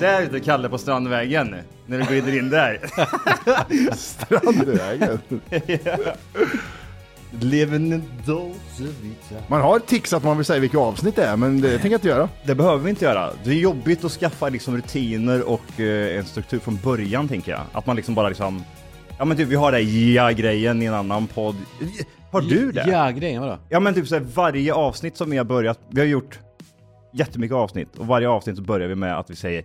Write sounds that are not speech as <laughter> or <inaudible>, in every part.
där ute, Kalle, på Strandvägen. När du glider in där. Strandvägen. Living in those of it. Man har tics att man vill säga vilka avsnitt det är, men det tänker jag inte göra. Det behöver vi inte göra. Det är jobbigt att skaffa liksom rutiner och eh, en struktur från början, tänker jag. Att man liksom bara liksom... Ja men typ, vi har det här ja-grejen i en annan podd. Har du det? Ja, grejen vadå? Ja men typ såhär varje avsnitt som vi har börjat, vi har gjort jättemycket avsnitt och varje avsnitt så börjar vi med att vi säger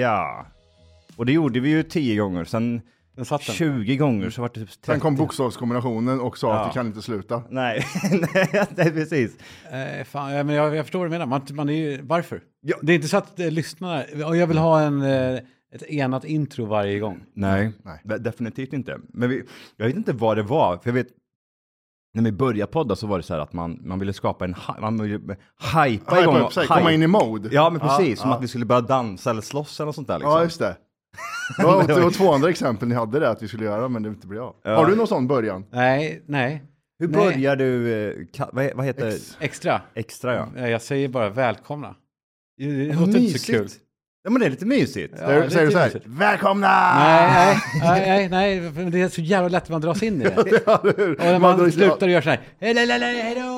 ja. Och det gjorde vi ju 10 gånger, sen Den satt den. 20 gånger så var det typ 30. Sen kom bokstavskombinationen och sa Ja. att det kan inte sluta. Nej, <laughs> nej, nej precis. Eh, fan, ja, men jag, jag förstår vad du menar. Man, man är ju, varför? Ja. Det är inte så att eh, lyssnarna... Och jag vill ha en, eh, ett enat intro varje gång. Nej, Nej. de- definitivt inte. Men vi, jag vet inte vad det var, för jag vet när vi började podda så var det så här att man, man ville skapa en, hy- man ville hypa igång. Hypa och- upp sig, komma hype. in i mode. Ja men precis, som ja. att vi skulle börja dansa eller slåss eller något sånt där liksom. Ja, just det. Det var, det var två andra exempel ni hade där att vi skulle göra, men det inte blev av. Har du någon sån början? Nej, nej. Hur Nej. börjar du, eh, ka- vad, he- vad heter Ex- Extra. Extra ja. Eh, Jag säger bara välkomna. Det det låter inte så kul. Ja men det är lite mysigt. Ja, Säger- det säger du så här, tycker välkomna! Nej, nej, nej, nej, för det är så jävla lätt att man dras in i det. <laughs> Och när man slutar och gör så här, hej, hej, hej, hej då!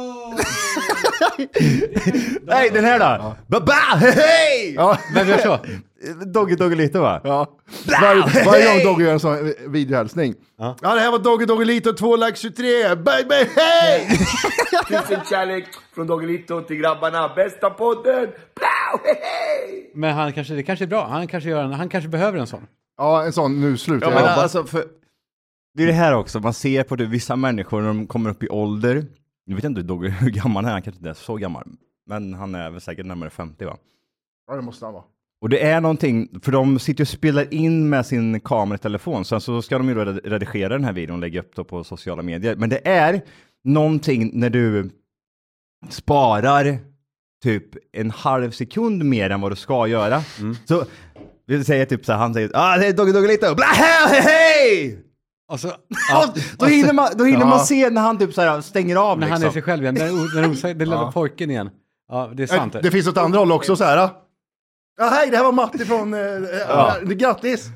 Nej den här då! Baba! Hej! Ja, <laughs> Vem gör så? Doggy Doggy lite va? ja. Var, varje gång Dogge gör en sån eh, videohälsning. Ja. det här var Dogge Doggelito 2 lax 23, baby hej! Tusen kärlek från Doggelito till grabbarna. Bästa podden! Pow! Hej, hej! Men han kanske, det kanske är bra. Han kanske, gör en, han kanske behöver en sån. Ja, en sån, nu Ja, slutar men jag. Bara, alltså, för, det är det här också, man ser på det, vissa människor när de kommer upp i ålder, nu vet jag inte Dogge <laughs> hur gammal han är, han kanske inte är så gammal, men han är väl säkert närmare 50 va? ja, det måste han vara. Och det är någonting, för de sitter ju och spelar in med sin kamera i telefon, sen så ska de ju då red- redigera den här videon och lägga upp det på sociala medier. Men det är någonting när du sparar typ en halv sekund mer än vad du ska göra. Så vi säger typ så här, han säger ah, det är Dogge Dogge lite, bla <laughs> hej hej! Och så, Ja, då hinner man, då hinner man Ja. se när han typ så här stänger av när han är liksom. sig själv igen, den, den, osä- den lilla pojken igen. Ja, det är sant. Äh, Det finns åt andra håll också så här. äh. Ja, hej, det här var Matti från... Eh, ja. Grattis!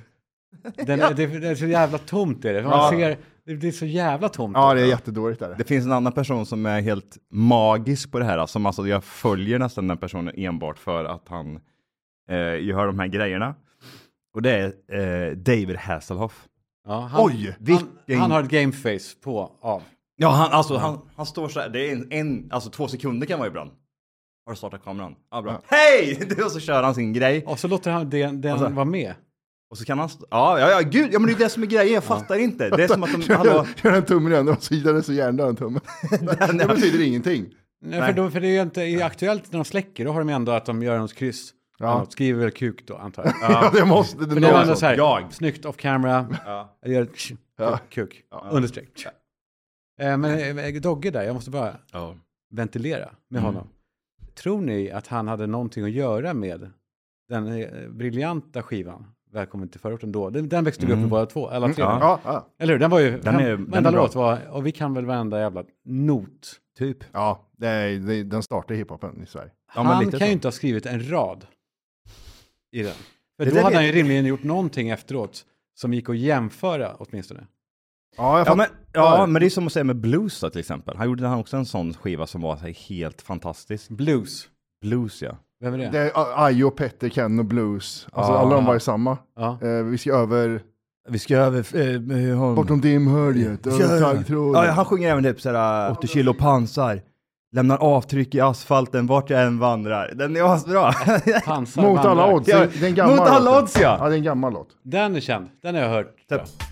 Den, det, det är så jävla tomt är det. Man ser, det blir så jävla tomt. Ja, det är jättedåligt där. Det finns en annan person som är helt magisk på det här, som alltså jag följer nästan den personen enbart för att han eh, gör de här grejerna. Och det är eh, David Hasselhoff. Ja, han, Oj, han, vilken- han har ett gameface på, av. Ja, han, alltså han, han står så här, det är en, en, alltså två sekunder kan vara ibland. Har du startat kameran? Ja, bra. <laughs> Hej! Och så kör han sin grej. Och så låter han den, Alltså- den vara med. Och så kan han, st- ja, ja, ja, gud, ja men det är det som är grejen, jag fattar inte. Det är som <laughs> att de, hallå, Gör en tumme igen, och så gillar den så gärna den <laughs> tummen. det betyder ingenting. Nej, för, då, för det är ju inte är aktuellt när de släcker, då har de ändå att de gör något kryss. Ja. Eller något, skriver väl kuk då, antar <laughs> jag. Ja. det måste... Det För det var ändå så här, jag. snyggt off camera, jag gör ett tsch, Ja. kuk, understreck. tsch. Eh, Men eh, Dogge där, jag måste bara ventilera med Mm. honom. Tror ni att han hade någonting att göra med den eh, briljanta skivan, Välkommen till förorten då? Den, den växte vi upp med båda två, alla tre. ja, ja. Eller hur? Den var ju, den är- Mm. den varenda är bra. låt var, och vi kan väl varenda jävla not. typ. ja det är, det, den startar hiphopen i Sverige. Ja, men han lite kan så. ju inte ha skrivit en rad i den. Det För då där hade vet- han ju rimligen gjort någonting efteråt som gick att jämföra åtminstone. Ja, jag Ja fattar. men, ja, men det är som att säga med blues då, till exempel. Han gjorde han också en sån skiva som var så här, helt fantastisk. Blues, Blues ja. vem är det? Det är A- Ayo, Petter, Ken och Blues. Alltså alla de var ju samma. Ja. Eh, vi ska över, Vi ska över... eh, bortom dimhöljet, över taggtråden. ja, han sjunger även typ såhär 80 kilo pansar. Lämnar avtryck i asfalten vart jag än vandrar. Den är asbra. Pansar Mot alla vandrar. odds, det är en gammal Mot alla låt. odds, ja. Ja, det är en gammal låt. Den är känd, den har jag hört. Typ. tror jag.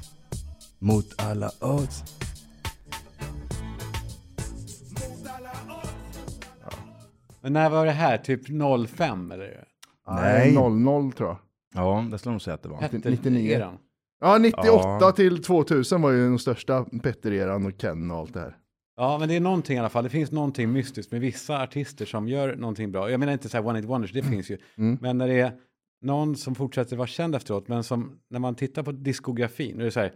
<laughs> Mot alla odds. Men när var det här? Typ 05 eller? Nej. 00 tror jag. Ja, det skulle de säga att det var. 99. Eran. Ja, 98 Ja. till 2000 var ju den största Petter-eran och Ken och allt det här. Ja, men det är någonting i alla fall. Det finns någonting mystiskt med vissa artister som gör någonting bra. Jag menar inte så här one hit wonders, det finns ju. Men när det är någon som fortsätter vara känd efteråt, men som när man tittar på diskografin, då är det så här,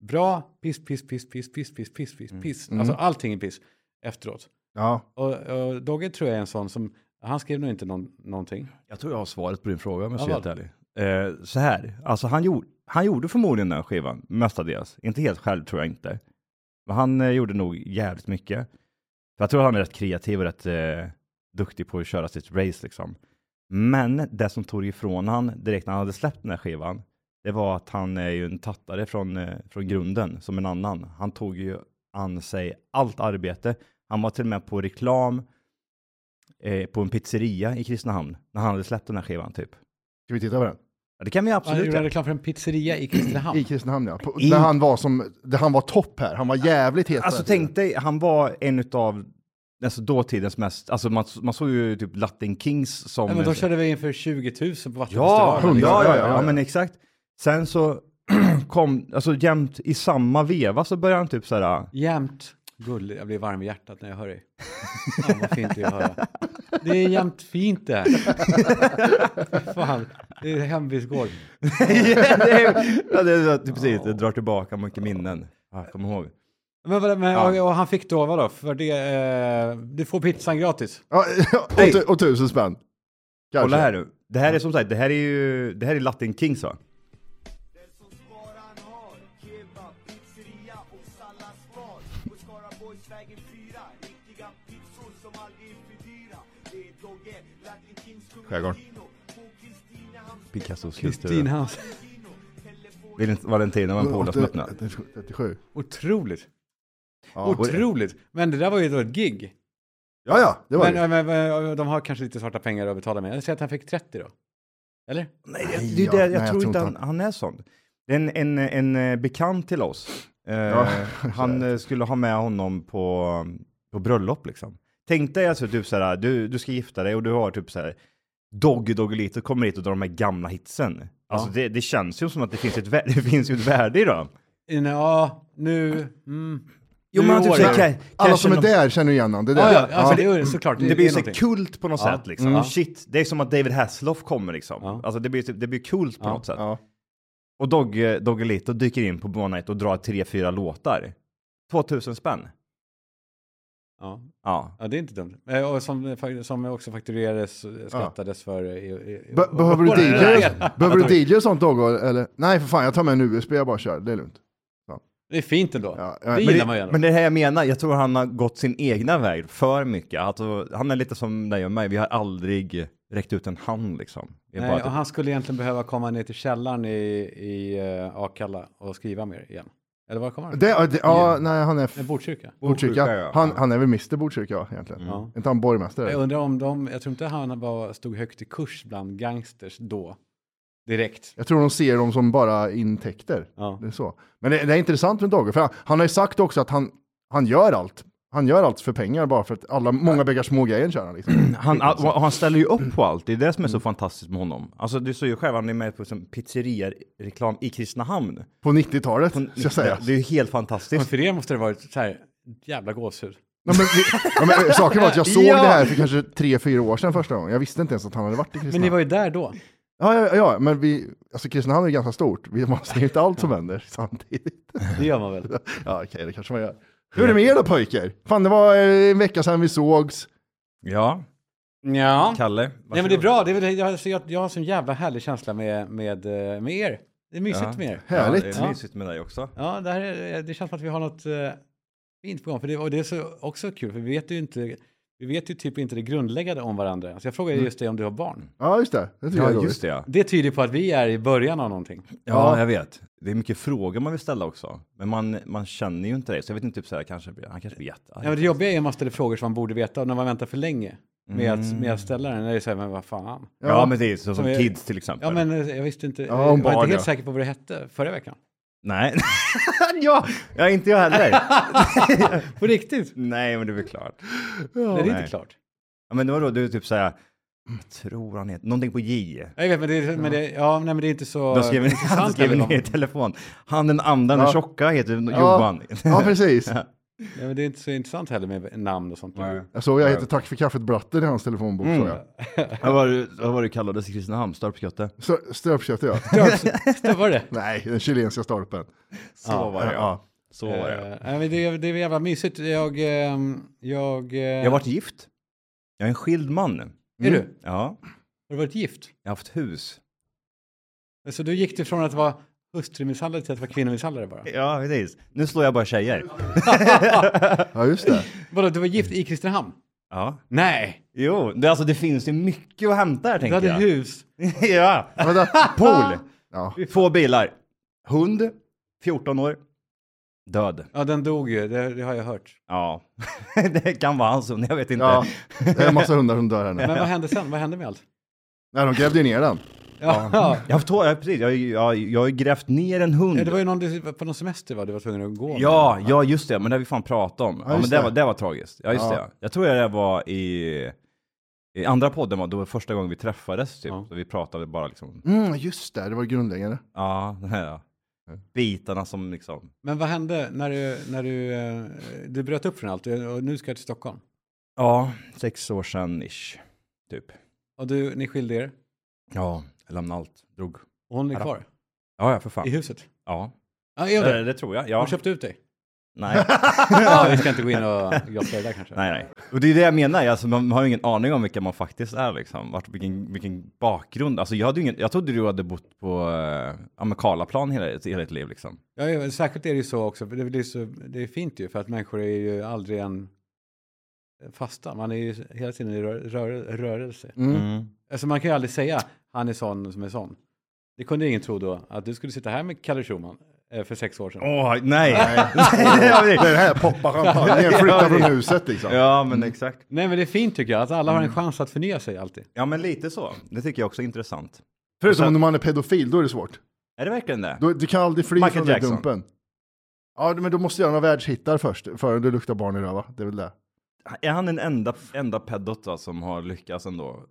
bra, piss, piss, piss, piss, piss, piss, piss, piss, piss. Alltså allting är piss efteråt. Ja, Och, och Dogge tror jag är en sån som Han skrev nog inte någon, någonting. Jag tror jag har svaret på din fråga om jag Ja, ska vara helt ärlig. Eh, så här, alltså han, gjorde, han gjorde förmodligen den skivan, mestadels. Inte helt själv tror jag inte. Men han eh, gjorde nog jävligt mycket. För jag tror han är rätt kreativ och rätt eh, duktig på att köra sitt race liksom. Men det som tog ifrån han direkt när han hade släppt den här skivan, det var att han är ju en tattare från, eh, från grunden, som en annan. Han tog ju an sig allt arbete. Han var till och med på reklam eh, på en pizzeria i Kristinehamn när han hade släppt den här skivan typ. Ska vi titta på den? Ja, det kan vi Han absolut gjorde göra. reklam för en pizzeria i Kristinehamn. I Kristinehamn ja. På, I- Där han var som, där han var topp här. Han var jävligt het. på Alltså den tiden. tänk dig, han var en av alltså, dåtidens mest, alltså man, man såg ju typ Latin Kings som... Nej, men då körde vi in för 20 000 på Mm. Ja, vattenfestivalen. ja, hundra, ja, ja, ja, ja, ja. men exakt. Sen så <clears throat> kom, alltså jämt i samma veva så började han typ så här, <laughs> Jämt gullig. Jag blir varm i hjärtat när jag hör dig. Fan vad fint det är att höra. Det är jämt fint det här. Fan, det är hemvistgård. ja, det är, ja, det är, typ, precis, det drar tillbaka mycket minnen. Ja, kom ihåg. Men, vadå, men, och, och han fick då vadå? För det, eh, du får pizzan gratis. Ja, <laughs> och, tu- och tusen spänn. Kanske. Kolla här nu. Det här är som sagt, det här är ju, det här är Latin Kings va? Den som Skaran har Kebab, pizzeria och salladsbar På Skaraborgsvägen 4 Riktiga pizzor som aldrig är för dyra Det är Dogge, Latin Kings, Skärgården. Kungino På Kristinehamns Picassos Kristin Hans. Vill inte Valentina var en polare som öppnade. 37. Otroligt. Ja. Otroligt. Men det där var ju då ett gig. Ja, ja, det var Men, eh, det. men, men, men de har kanske lite svarta pengar att betala med. Jag säger att han fick 30 då. Eller? Nej, det, Nej, det, är det, ja. jag, Nej, jag tror tror inte inte han, han är sån. Det är en, en, en eh, bekant till oss. Eh, <laughs> han eh, skulle ha med honom på, på bröllop liksom. Tänk dig alltså typ såhär, du, du ska gifta dig och du har typ såhär Doggy Doggelito kommer hit och drar de här gamla hitsen. Alltså det, det känns ju som att det finns, ett, vä- <laughs> det finns ju ett värde i dem. In, ja, nu... Mm. Jo, Nu men typ år såhär, är ca- det. Alla cashen som är om- där känner igen honom. Det Ja, där. ja, alltså, det är ju såklart. Det blir är så här någonting. kult på något sätt liksom. Shit, det är som att David Hasselhoff kommer liksom. Ja. Alltså det blir, typ- det blir kult på något sätt. Ja. Och Dogge Doggelito dyker in på Bonnet och drar tre, fyra låtar. 2000 spänn. Ja. Ja. Ja, det är inte dumt. Eh, Och som, som också fakturerades, eh, skattades för... i- i- i- Be- behöver du Bara- DJ? Nej, alltså, Behöver du DJ och sånt Dogge? Eller? Nej för fan, jag tar med en USB, jag bara kör. Det är lugnt. Det är fint ändå. Ja, ja, det men gillar det, man ju ändå. men det är det här jag menar, jag tror han har gått sin egna väg för mycket. Alltså, han är lite som dig och mig, vi har aldrig räckt ut en hand liksom. Vi är Nej, bara och typ, han skulle egentligen behöva komma ner till källaren i, i eh, Akalla och skriva mer igen. Eller var kommer han? Det, ja, det, ja, nej han är f- Nej, Botkyrka. Botkyrka, ja. Mm. Botkyrka. Han, han är väl Mr Botkyrka ja, egentligen. Ja. Inte han borgmästare? Jag undrar om de, jag tror inte han var, stod högt i kurs bland gangsters då. Direkt. Jag tror de ser dem som bara intäkter. Ja. Det är så. Men det, det är intressant med Dogge, för han, han har ju sagt också att han, han gör allt. Han gör allt för pengar bara för att alla, många bäckar små grejer kör han liksom. han, och han ställer ju upp på allt, det är det Mm. som är så fantastiskt med honom. Alltså du såg ju själv, han är med på som pizzeria-reklam i Kristinehamn. Liksom. På 90-talet, ska jag säga. Det är ju helt Men fantastiskt. för er måste det varit så här, jävla gåshud. Nej, men, vi, ja, men, eh, saken var att jag såg Ja. det här för kanske tre, fyra år sedan första gången. Jag visste inte ens att han hade varit i Men ni Kristinehamn. var ju där då. Ja, ja, ja, men vi, alltså Kristinehamn är ganska stort. Vi, man ser ju inte allt som händer samtidigt. Det gör man väl? <laughs> Ja, okej, det kanske man gör. Hur är det med er då pojkar? Fan, det var eh, en vecka sedan vi sågs. Ja, Ja. Kalle. Nej men det är bra, det är väl, jag, alltså, jag, jag har en sån jävla härlig känsla med, med, eh, med er. Det är mysigt Ja. med er. Härligt. Ja, det är mysigt med dig också. Ja, det, här är, det känns som att vi har något eh, fint på gång. För det, och det är så, också kul, för vi vet ju inte, vi vet ju typ inte det grundläggande om varandra. Så jag frågade just dig om du har barn. Ja, just det. det tycker jag är Ja, roligt. just det ja. Det tyder på att vi är i början av någonting. Ja, jag vet. Det är mycket frågor man vill ställa också. Men man, man känner ju inte dig, så jag vet inte, typ så här, kanske, blir- han kanske blir jättearg. Ja, men det jobbiga är att man ställer frågor som man borde veta och när man väntar för länge med, att, med att ställa den. Det är så här, men vad fan. Ja, men det är så, som är- kids till exempel. Ja, men eh, jag visste inte, om jag var barn, inte helt ja. säker på vad det hette förra veckan. Nej. ja, ja, inte jag heller. På riktigt? Nej, men det är väl klart. Nej, det är Nej. inte klart. Ja, men det var då du typ så här, jag tror han heter, någonting på J. Jag vet, men det, är- men det, ja, nej, men det är inte så Du har skrivit, intressant han skriver heller, ner i va? telefon. Han den andra, den Ja. tjocka, heter Ja, Johan. <laughs> ja precis. Nej, men det är inte så intressant heller med namn och sånt. Alltså, Jag såg jag heter Tack för kaffet Bratten i hans telefonbok Mm. såg jag. Vad var det- vad var det kallades i Kristinehamn? Storpskötte? Stö- Ströpköttet ja. Det var det. <laughs> <laughs> Nej, den chilenska stolpen. Så var det ja. Så var det. Eh, nej, men det, det är jävla mysigt. Jag... ehm, jag, eh, Jag har varit gift. Jag är en skild man. Är du? Mm. Har Ja, du varit gift? jag har haft hus. Så du gick det från att vara hustrumisshandlare till att vara kvinnomisshandlare bara? Ja, precis. Nu slår jag bara tjejer. Ja, just det. Vadå, du var gift i Kristinehamn? Ja. Nej, Jo, det, alltså det finns ju mycket att hämta här du tänker hade jag. hus. <laughs> ja. Vänta. Pool. Ja. Två bilar. Hund. 14 år. Död. Ja, den dog ju, det, det har jag hört. Ja. <laughs> det kan vara hans hund, jag vet inte. ja, det är en massa hundar som dör här nu. Men vad hände sen? Vad hände med allt? Nej, de grävde ju ner den. Ja, ja. Jag har, haft- <laughs> ja, precis, jag, jag, jag har ju grävt ner en hund. det var ju någon, du var på någon semester va? Du var tvungen att gå. med. Ja, ja just det, men det har vi fan pratat om. Ja, men just det, det. Var, det var tragiskt. Ja, just Ja. det. Ja. Jag tror det var i, i andra podden, var, då var första gången vi träffades typ. Ja. Så vi pratade bara liksom, Mm, just det, det var grundläggande. ja, <laughs> den här bitarna som liksom, Men vad hände när du, när du, eh, du bröt upp från allt och nu ska jag till Stockholm? ja, sex år sedan ish, typ. Och du, ni skilde er Ja, jag lämnade allt, drog. och hon är Ja. kvar Ja, ja, för i fan. huset? Ja, Ja, är hon det, det? det tror jag. Hon Eh, Ja. köpte ut dig? Nej. Ja, vi ska inte gå in och <laughs> grotta i det där kanske. <laughs> Nej, nej. Och det är det jag menar, alltså, man har ju ingen aning om vilka man faktiskt är liksom. Vart, vilken, vilken bakgrund. Alltså, jag, hade ju ingen, jag trodde du hade bott på eh, ja, men Karlaplan hela, hela ditt liv liksom. Ja, ja, särskilt är det ju så också, för det, blir så, det är fint ju, för att människor är ju aldrig en fasta, man är ju hela tiden i rör, rör, rörelse. Mm. Alltså man kan ju aldrig säga, han är sån som är sån. Det kunde ingen tro då, att du skulle sitta här med Kalle Schumann eh, för sex år sedan. Åh, <laughs> nej! Det är det här, poppa champagne, flytta från huset liksom. ja, men exakt. Nej men det är fint tycker jag, att alla har Mm. en chans att förnya sig alltid. Ja, men lite så. Det tycker jag också är intressant. Förutom när man är pedofil, då är det svårt. Är det verkligen det? Då, du kan aldrig fly Michael från den Jackson. dumpen. Ja, men du måste göra några världshittar först, före du luktar barn i röva. Det är väl det. Är han den enda, enda pedot va, som har lyckats ändå?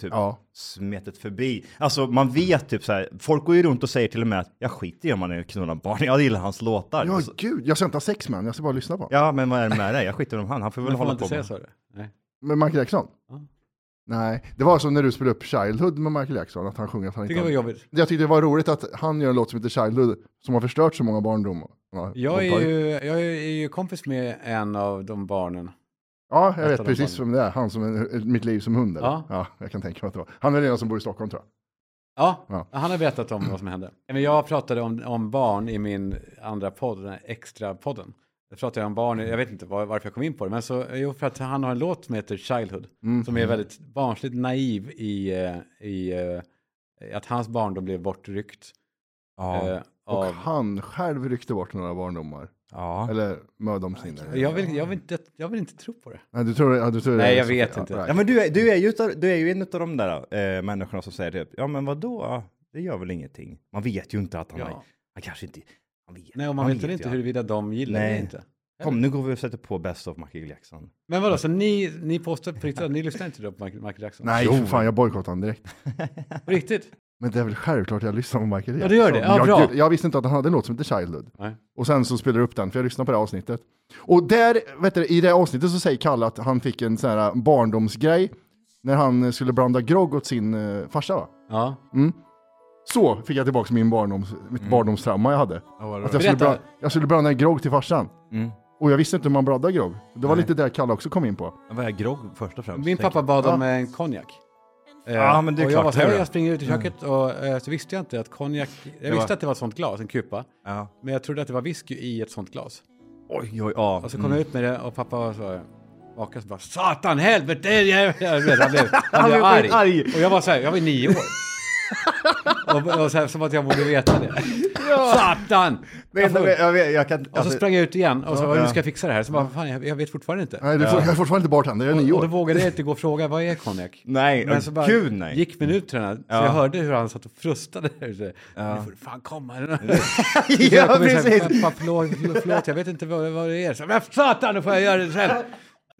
Typ Ja. smetet förbi. Alltså man vet typ så här, folk går ju runt och säger till och med att jag skiter i om man är knullar barn, <laughs> jag gillar hans låtar. Ja, Alltså, gud, jag ska inte ha sex med honom, jag ska bara lyssna på honom. Ja, men vad är det med det? Jag skiter om han, han får väl Men får man hålla inte på säga med. så? eller? Nej. Med Michael Jackson? Ja. Nej, det var som när du spelade upp Childhood med Michael Jackson, att han sjunger att han inte Tycker det var jobbigt. Jag tyckte det var roligt att han gör en låt som heter Childhood, som har förstört så många barndomar. Jag är, ju, jag är ju kompis med en av de barnen. Ja, jag ett vet av de precis vem det är. Han som är, mitt liv som hund. Eller? Ja. Ja. jag kan tänka mig att det var. Han är den ena som bor i Stockholm tror jag. Ja, Ja. han har berättat om vad som hände. Men jag pratade om, om barn i min andra podd, den här extra podden. Jag pratade om barn, jag vet inte var, varför jag kom in på det, men så, jo, för att han har en låt som heter Childhood, Mhm. som är väldigt barnsligt naiv i, eh, i eh, att hans barndom blev bortryckt. Ja, eh, Och av, han själv ryckte bort några barndomar. ja. Eller mödomshinder. jag, vill, jag, vill inte, jag vill inte tro på det. Nej, du tror, ja, du tror Nej, det är jag så- vet ja, inte. right. ja men du är, du, är ju, utav- du är ju en av de där eh, människorna som säger typ, ja men vadå, det gör väl ingenting. Man vet ju inte att han, Ja. har, han kanske inte, han vet, Nej, och man han vet väl inte ju att- huruvida de gillar det eller Nej. inte. Kom nu går vi och sätter på Best of Michael Jackson. Men vadå, så ni, ni påstår på riktigt att ni lyssnar inte då på Michael Michael Jackson? Nej, för fan, jag bojkottade honom direkt. På riktigt? Men det är väl självklart jag lyssnar på Michael Jackson. Ja, du gör det. Ja, jag, bra. gud, jag visste inte att han hade en låt som heter Childhood. Nej. Och sen så spelade jag upp den, för jag lyssnade på det här avsnittet. Och där, vet du, i det här avsnittet så säger Kalle att han fick en sån här äh, barndomsgrej när han eh, skulle blanda grogg åt sin uh, farsa va? Ja. Så fick jag tillbaka min barndoms, mitt Mm. barndomstrauma jag hade. Att jag, skulle Berätta. blanda, jag skulle blanda en grogg till farsan. Mm. Och jag visste inte hur man bladdar grogg. Det var lite där Kalle också kom in på. Vad är grogg först och främst? Min tänker pappa bad om en konjak. Eh, Ja, men det är och jag klart, var så här, det är det. jag springer ut i köket och eh, så visste jag inte att konjak, jag visste var- att det var ett sånt glas, en kupa, jag. Ja. men jag trodde att det var whisky i ett sånt glas. Oj, oj, ja. Mm. Och så kom jag ut med det och pappa var så bakade så bara satan helvete, jag, jag vet, han blev, han blev arg. väldigt arg. Och jag var så här, jag var nio år. och, och så här, som att jag borde veta det. Satan! Jag får- jag, vet, jag kan... Alltså- alltså- och så sprang jag ut igen och så bara, nu ska jag fixa det här. Så bara, fan, jag, jag vet fortfarande inte. Nej, du får, jag är fortfarande inte bartender, jag är nio Och då år. vågade jag inte gå och fråga, vad är konjak? Nej, Men och så bara gud nej. gick minuterna, så jag hörde hur han satt och frustade <laughs> där ute. Nu får du fan komma. <laughs> Jag ja, kom in så här, precis! Pappa, förlåt, förlåt, jag vet inte vad, vad det är. Så, men satan, nu får jag göra det själv.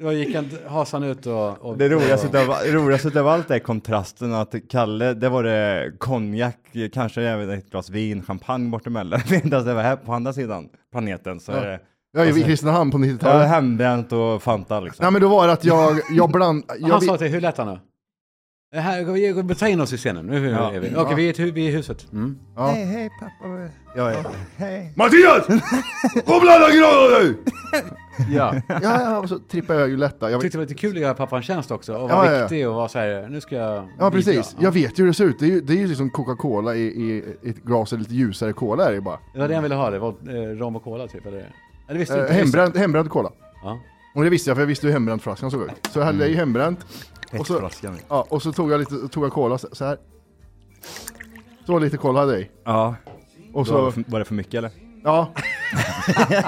Då gick han, hasan ut och... och Det roligaste, utav, roligaste utav allt är kontrasten att Kalle, det var det konjak, kanske även ett glas vin, champagne bortemellan. <laughs> Medan det var här på andra sidan planeten så är det Jag Alltså- är i Kristinehamn på ja, 90-talet. hembränt och Fanta liksom. Nej men då var det att jag, jag bland... Jag, Han vi- sa till hur lät han då? Eh, Här, vi- vi- ta in oss i scenen. Nu Ja. är vi. Okej, vi, är i ett hu- vi är i huset. Mm. Hej, hej pappa. Ja, ja. Hej. Mattias! Kom blanda granar nu! Ja. Ja, ja, och så trippar jag ju lätta. Jag Jag vet, tyckte det var lite kul att göra pappan tjänst också. Och Ja, vara ja, ja. viktig och vara så här, nu ska jag ja, bidra. precis. Ja. Jag vet ju hur det ser ut. Det är ju, det är ju liksom Coca-Cola i, i ett glas, eller lite ljusare cola är det ju bara. Det var det han ville ha, det var eh, rom och cola typ, eller? Ja, det visste Eh, inte. jag. hembränd, hembränd cola. Ja. Och det visste jag för jag visste hur hembräntflaskan såg ut. Så jag Mm. hällde i hembränt. Och så, Petflaskan. ja, och så tog jag lite tog jag cola så så här. Så lite cola hade jag i. Ja. Och Var det, så, för, var det för mycket eller? ja.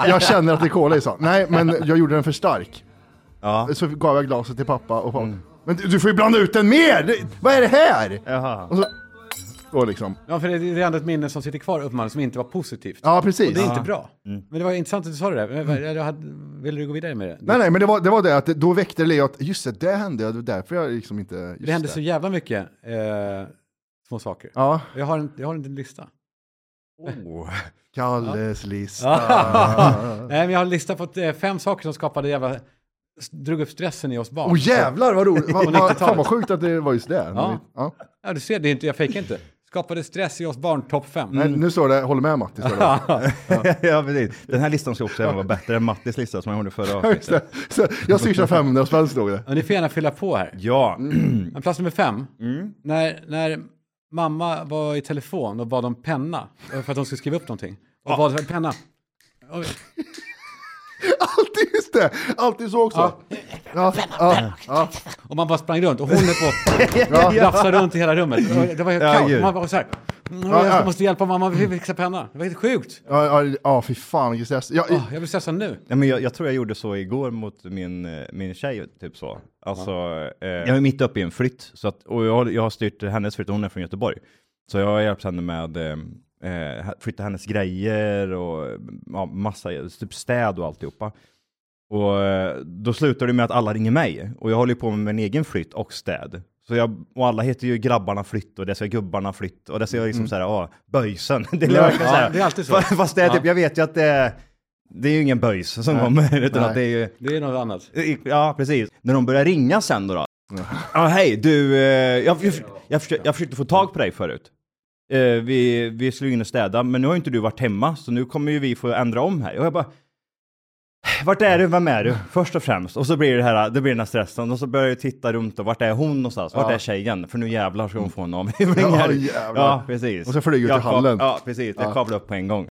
jag känner att det är cola i så. Nej, men jag gjorde den för stark. Ja. Så gav jag glaset till pappa och Mm. pappa. Men du, du får ju blanda ut den mer! Det- Vad är det här? Jaha. Och så, så liksom. ja, för det, det är ändå ett minne som sitter kvar uppenbarligen som inte var positivt. Ja, Mm. precis. Det är inte bra. Men det var intressant att du sa det där. Men vad- jag hade- Vill du gå vidare med det? Nej, nej, men det var det, var det att det- då väckte det att just det, det hände, det var därför jag liksom inte... Just Det hände så jävla mycket eh, små saker. Ja, Jag har en, jag har en liten lista. Oh. Kalles lista. Nej, men jag har en lista på eh, fem saker som skapade jävla... Drog upp stressen i oss barn. Åh jävlar vad roligt! Va, På va, 90-talet. fan vad sjukt att det var just det. Ja. Ja. Ja, du ser, det är inte, jag fejkar inte. Skapade stress i oss barn, topp fem. Nej, nu står det, håller med Matti. står <laughs> det. <laughs> ja, precis. Den här listan ska också även vara bättre än Mattis lista som jag gjorde förra Ja, just avsnittet. det. Så jag swishar 500 spänn stod det. <laughs> Ja, ni får gärna fylla på här. Ja. Mm. Men plats nummer fem. När, när mamma var i telefon och bad om penna eh, för att de skulle skriva upp någonting. Och bad för penna. Och, Alltid just det! Alltid så också. Ja, ja, ja. och man bara sprang runt och hon höll på och lafsade runt i hela rummet. Och Det var helt Ja, kaos. gud. Man bara så här. "Mm, Ja, ja. Jag måste hjälpa mamma, vi fixar penna. Det var helt sjukt. Ja, ja, ja, fy fan vilken stress. Ja, Åh, jag blir stressad nu. Nej, men jag, jag tror jag gjorde så igår mot min, eh, min tjej, typ så. Alltså, eh, jag är mitt uppe i en flytt, så att, och jag, har- jag har styrt hennes flytt, hon är från Göteborg. Så jag har hjälpt henne med eh, eh, flytta hennes grejer och ja, massa, typ städ och alltihopa. Och eh, då slutar det med att alla ringer mig, och jag håller ju på med min egen flytt och städ. Så jag, och alla heter ju grabbarna flytt och det ska gubbarna flytt och det ska jag liksom såhär, ah, böjsen. <laughs> Det är, verkligen Ja, så här. det är alltid så. Fast det är Ja. typ, jag vet ju att det är, det är ju ingen böjs som kommer, <laughs> utan Nej. att det är ju... Det är något annat. Ja, precis. När de börjar ringa sen då. då. Ja, hej, du, eh, jag, jag, jag, försökte, jag försökte få tag på dig förut. Eh, vi, vi skulle in och städa, men nu har ju inte du varit hemma, så nu kommer ju vi få ändra om här. Och jag bara, "Äh, vart är du, vem är du, först och främst? Och så blir det här, det blir den här stressen, och så börjar jag titta runt och vart är hon någonstans? Vart Ja. är tjejen? För nu jävlar ska hon få en <laughs> avhyvling här. Ja, jävlar. ja, precis. Och så flyger du Jag till kap- hallen. Ja, precis. Jag Ja. kavlar upp på en gång.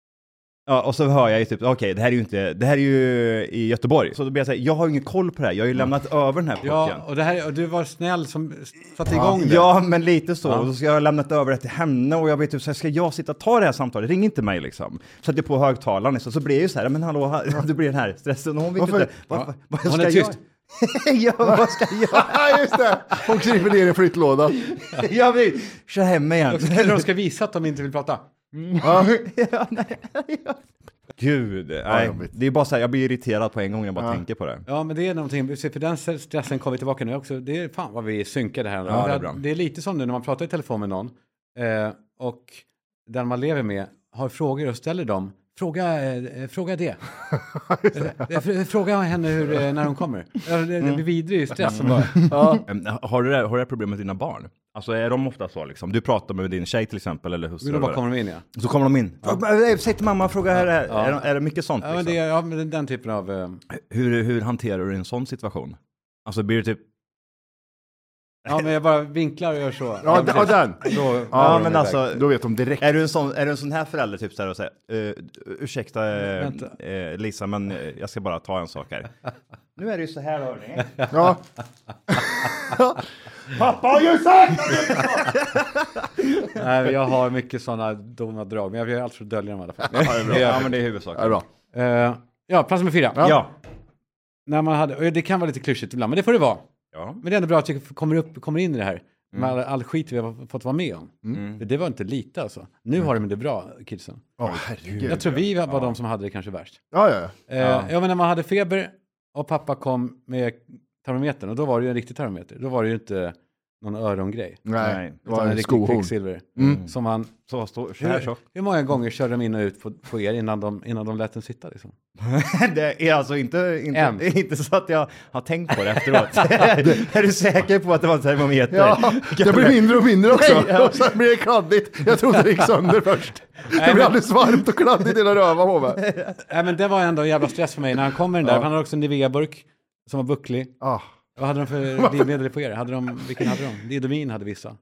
Ja, och så hör jag ju typ, okej, det här är ju inte, det här är ju i Göteborg. Så då blir jag såhär, jag har ju ingen koll på det här, jag har ju lämnat över den här pucken. Ja, Ja, och, det här, och du var snäll som satte igång det. men lite så. Och så ska jag ha lämnat över det till henne och jag blir typ såhär, ska jag sitta och ta det här samtalet? Ring inte mig liksom. Sätter på högtalaren, liksom. så, så blir jag ju såhär, men hallå, <laughs> här, det blir den här stressen. Och hon vet ju Varför? inte, vad, vad, vad Hon ska är jag? tyst. <laughs> ja, vad ska <laughs> jag? Ja, just det! Hon kryper ner i flyttlådan. Jag vill köra hem igen. Eller de ska visa att de inte vill prata. Ja. Gud, nej. jobbigt. Det är bara såhär, jag blir irriterad på en gång när jag bara tänker på det. Ja, men det är någonting. För den stressen kommer vi tillbaka nu också. Det är fan vad vi är synkade här. Ja, det är För bra. att det är lite som nu när man pratar i telefon med någon eh, och den man lever med har frågor och ställer dem. Fråga, eh, eh, fråga det. Eh, fr- fråga henne hur, eh, när hon kommer. Ja, Det, det blir vidrig stress. som bara- Mm, Har du det, har du det här problemet med dina barn? Alltså är de ofta så liksom? Du pratar med din tjej till exempel eller hustru. Men då bara eller- kommer de in ja. Så kommer de in. Ja. eh, Säg till mamma, fråga här, är, är, det- är det mycket sånt? Ja, men det, liksom? är- ja men den- den typen av... Eh, hur, hur hanterar du en sån situation? Alltså blir du typ... ja, men jag bara vinklar och gör så. Ja, d- ja, precis. den! Då, Ja, Ja, men alltså... Då vet de direkt. Är du, en sån, är du en sån här förälder typ så här och säger uh, ursäkta eh, Vänta. eh, Lisa men eh, jag ska bara ta en sak här. <laughs> nu är det ju så här hörni. Ja. Pappa har ju sagt! nej, men jag har mycket sådana dumma drag, men jag gör allt för att dölja dem i alla fall. Ja, det är bra. ja men det är Ja, det är huvudsaken. bra. Eh, ja, plats nummer fyra. Ja. När man hade, och det kan vara lite klyschigt ibland, men det får det vara. ja. Men det är ändå bra att jag kommer, upp, kommer in i det här. Med all, all skit vi har fått vara med om. För Det var inte lite alltså. Nu har de det bra, kidsen. Ja, herregud. Jag tror vi var de som hade det kanske värst. Ja, ja, ja. Eh, ja. men när man hade feber och pappa kom med termometern, och då var det ju en riktig termometer. Då var det ju inte någon örongrej. Nej, det Utan var en en riktig skohorn. kvicksilver. Mm. Som han... Så stor, så här Hur, tjock. hur många gånger körde de in och ut på, på er innan de, innan de lät den sitta? Liksom? <laughs> Det är alltså inte, inte, En. <laughs> Ehm. inte så att jag har tänkt på det <laughs> efteråt. <laughs> är du säker på att det var en termometer? <laughs> Ja, det blir mindre och mindre också. Nej, ja. Och sen blir det kladdigt. Jag trodde det gick sönder först. Det men- blir alldeles varmt och kladdigt i hela rövan på mig. <laughs> Nej, Äh, men det var ändå en jävla stress för mig när han kom med den där. Han hade också en Nivea-burk som var bucklig. Ah. <laughs> Vad hade de för drivmedel på er? Hade de, vilken hade de? Diodomin hade vissa.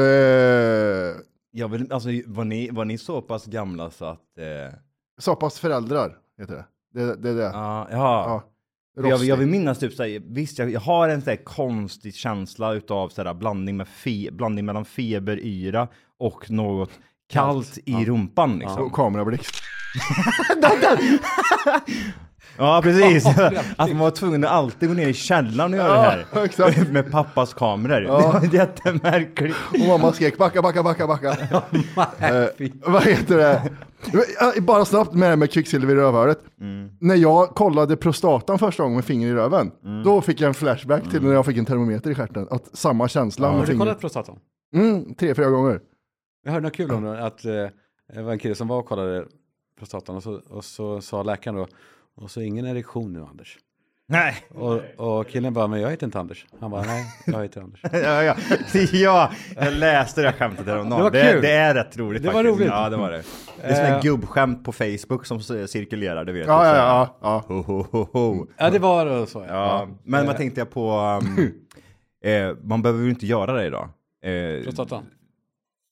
Eh, Jag vill, alltså, var, ni, var ni så pass gamla så att... Eh, ja, Sopas föräldrar heter det. Det, det, det. ja. Ja. jag, Rostig. jag vill minnas typ såhär, visst jag, jag har en såhär konstig känsla utav såhär blandning, med fe, blandning mellan feberyra och något kallt i rumpan liksom. Och kamerablixt. <laughs> Ja, precis. att man var tvungen att alltid gå ner i källaren och göra det här. <laughs> exakt. Med pappas kameror. <laughs> Det var jättemärkligt. Och mamma skrek backa, backa, <laughs> backa, backa. Eh, vad heter det? Eh, Bara snabbt med det här med kvicksilver i rövhålet. Mm. När jag kollade prostatan första gången med finger i röven, Mm. då fick jag en flashback till när jag fick en termometer i stjärten. Att samma känsla Har med du fingret. kollat prostatan? Mm, tre, fyra gånger. Jag hörde något kul om det, att eh, det var en kille som var och kollade prostatan och så, och så sa läkaren då, och så ingen erektion nu Anders. Nej. Och, och killen bara, men jag heter inte Anders. Han bara, nej, jag heter <laughs> Anders. Ja, ja. <laughs> ja, jag läste det här skämtet häromdagen. Det var det, kul. det är rätt roligt Det var faktiskt. roligt. Ja, det var det. Det är som Eh. ett gubbskämt på Facebook som s- cirkulerar, du vet. Ja, ja, Mm. ja. ja. Ho, ho, ho, ho. Ja, det var då så. Ja, men Eh. vad tänkte jag på? <laughs> um, eh, man behöver ju inte göra det idag. Eh, Prostatan.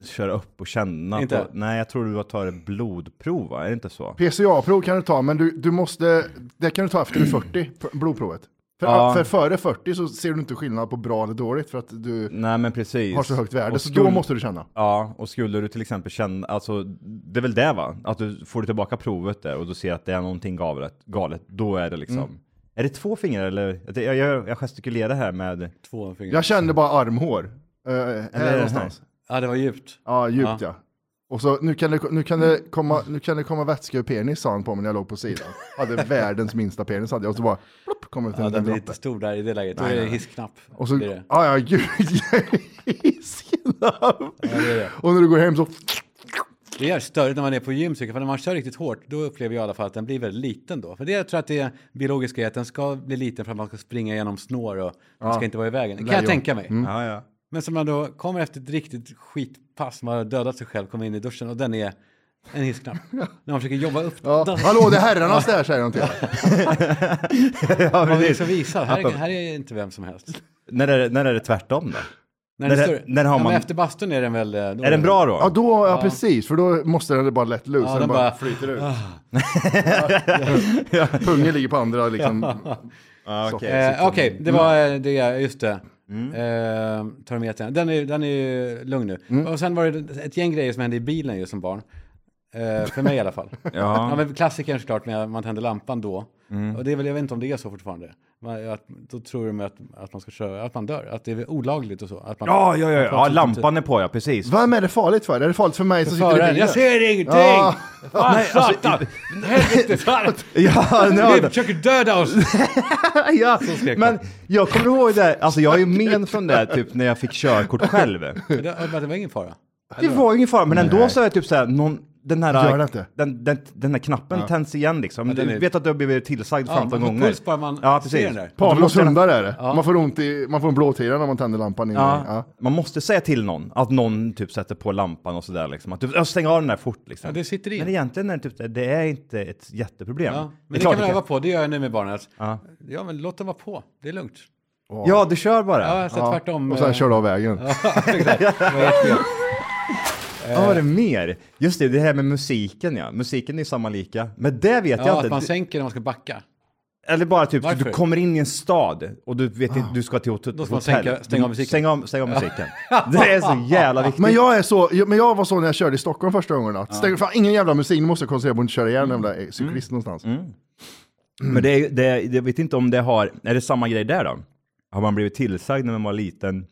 köra upp och känna. Inte? På, nej, jag tror du tar ett blodprov, va? Är det inte så? PCA-prov kan du ta, men du, du måste, det kan du ta efter du är 40, p- blodprovet. För, Mm. Ja. för före 40 så ser du inte skillnad på bra eller dåligt för att du Nej, men precis. har så högt värde, Och så då skulle- måste du känna. Ja, och skulle du till exempel känna, alltså det är väl det va? Att du får du tillbaka provet där och du ser att det är någonting galet, galet då är det liksom. Mm. Är det två fingrar eller? Jag, jag, gör- jag gestikulerar här med, Två fingrar. Jag kände bara armhår. Eh, här här? någonstans. Ja, det var djupt. Ja, djupt ja. Och så, nu kan, det, nu, kan det komma, nu kan det komma vätska ur penis, sa han på mig när jag låg på sidan. Hade världens minsta penis, hade jag. Och så bara, plopp, kom ut en Ja, den liten blir droppe. lite stor där i det läget. Då är det hissknapp. Och så, Det är det. ja, ja, gud, <laughs> isknapp. Och när du går hem så, Det gör större när man är på gym, tycker jag. för när man kör riktigt hårt, då upplever jag i alla fall att den blir väldigt liten då. För det jag tror jag att det är biologiska är att den ska bli liten för att man ska springa genom snår och den ska inte vara i vägen. Det kan jag Lejon. tänka mig. ja ja. Men som man då kommer efter ett riktigt skitpass, man har dödat sig själv, kommer in i duschen och den är <laughs> en hissknapp. när man försöker jobba upp ja, den. hallå det är herrarnas där, säger han till mig. <laughs> ja Man vill precis. liksom visa, här, är- här är inte vem som helst. När, är, det- när är det tvärtom då? När, det, När- större, när har ja, men man- Efter bastun är den väl... eh, Då Är den bra då? Ja, då, ja, precis, för då måste den bara lätt loose. Ja, den, den bara bara- flyter <laughs> ut. Pungen ligger på andra liksom. Ja, okej. Eh, Okej, det Mm. var eh, det, jag- just det. Eh, tar med den. Den är, den är ju lugn nu. Mm. Och sen var det ett gäng grejer som hände i bilen ju som barn. Eh, för mig i alla fall. <laughs> Ja. Mm. men klassikern såklart när man tänder lampan då. Och det är väl, jag vet inte om det är så fortfarande. Man, att, då tror de att, att man ska köra, att man dör. Att det är olagligt och så. Att man, typ- Ja, ja, ja, ja, absolut lampan är på ja, precis. Vem är det farligt för? Är det farligt för mig som sitter i Föraren, bilen? typ- jag ser ingenting! Ja. Fan, satan! Helvete, fan! alltså, <laughs> Ja, Ni försöker döda oss! ja. skrek Men man. jag kommer ihåg det, här, alltså jag har ju men från det här, typ när jag fick körkort själv. Men det, men det var ingen fara. Det var ju ingen fara, men ändå så är det typ såhär, någon, den Gör det här, inte. den, den, den här knappen tänds igen liksom. den Du är- vet att du har blivit tillsagd Ja, 15 man får gånger. puls bara man ja, ser precis. den där. Paul Pavlovs måste- hundar är det. Man, får ont i, man får en blåtira när man tänder lampan. In Ja. i- Ja. Man måste säga till någon att någon typ sätter på lampan och sådär liksom. Att du "Ja, stäng av den där fort liksom. Ja, det sitter i. Men egentligen är det typ så här, det är inte ett jätteproblem. Ja, Det är men det, klart kan man du öva på, det gör jag nu med barnen. Att, ja. Ja. men låt den vara på, det är lugnt. Ja, du kör bara. Ja, Ja, så tvärtom. Och sen eh, kör du av vägen. vad var det mer? Just det, det här med musiken ja. Musiken är ju samma lika. Men det vet jag Ja, att inte. man sänker när man ska backa. Eller bara typ, Varför? du kommer in i en stad och du vet inte, du ska till hot- Då hotell. ska man sänka- stänga av musiken. Stäng av, stäng av musiken. Det är så jävla viktigt. Men jag, är så, jag- men jag var så när jag körde i Stockholm första gången. Att stäng, fan, ingen jävla musik, nu måste jag koncentrera mig på att inte köra ihjäl en jävla Mm. eh, cyklist någonstans. Men det, är- det, är- jag vet inte om det har, är det samma grej där då? Har man blivit tillsagd när man var liten?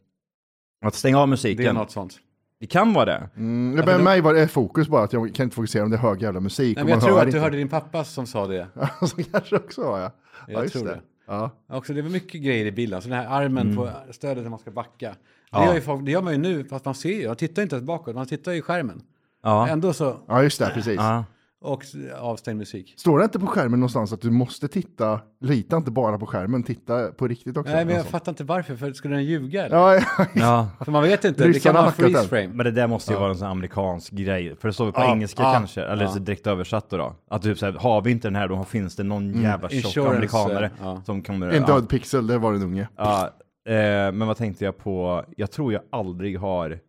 Att stänga av musiken? Det är något sånt. Det kan vara det. Mm, det- men mig var det fokus bara att jag kan inte fokusera om det är hög jävla musik. Nej, och men jag man tror hör att du inte. <laughs> hörde din pappa som sa det. Så kanske också var jag. Jag tror det. Ja. Också, det var mycket grejer i bilen, så den här armen på stödet när man ska backa. Ja. Det, gör ju folk, det gör man ju nu, fast man ser ju, man tittar ju inte ens bakåt, man tittar ju i skärmen. Ja. Ändå så, ja, just det, precis. Ja. och s- avstängd musik. Står det inte på skärmen någonstans att du måste titta, lita inte bara på skärmen, titta på riktigt också? Nej, men jag Något sånt. fattar inte varför, för skulle den ljuga eller? alltså. Ja, ja. <laughs> ja. För man vet inte, det kan Ryssarna vara har hackat freeze den. frame. Men det där måste ju vara en sån amerikansk grej, för det står väl på Ja, engelska ja, kanske, eller så direkt översatt då. då. Att typ såhär, har vi inte den här då finns det någon jävla tjock Mm. Insurance, amerikanare eh, ja. som kommer... En ja. död pixel, där var det en unge. Ja, eh, men vad tänkte jag på? Jag tror jag aldrig har...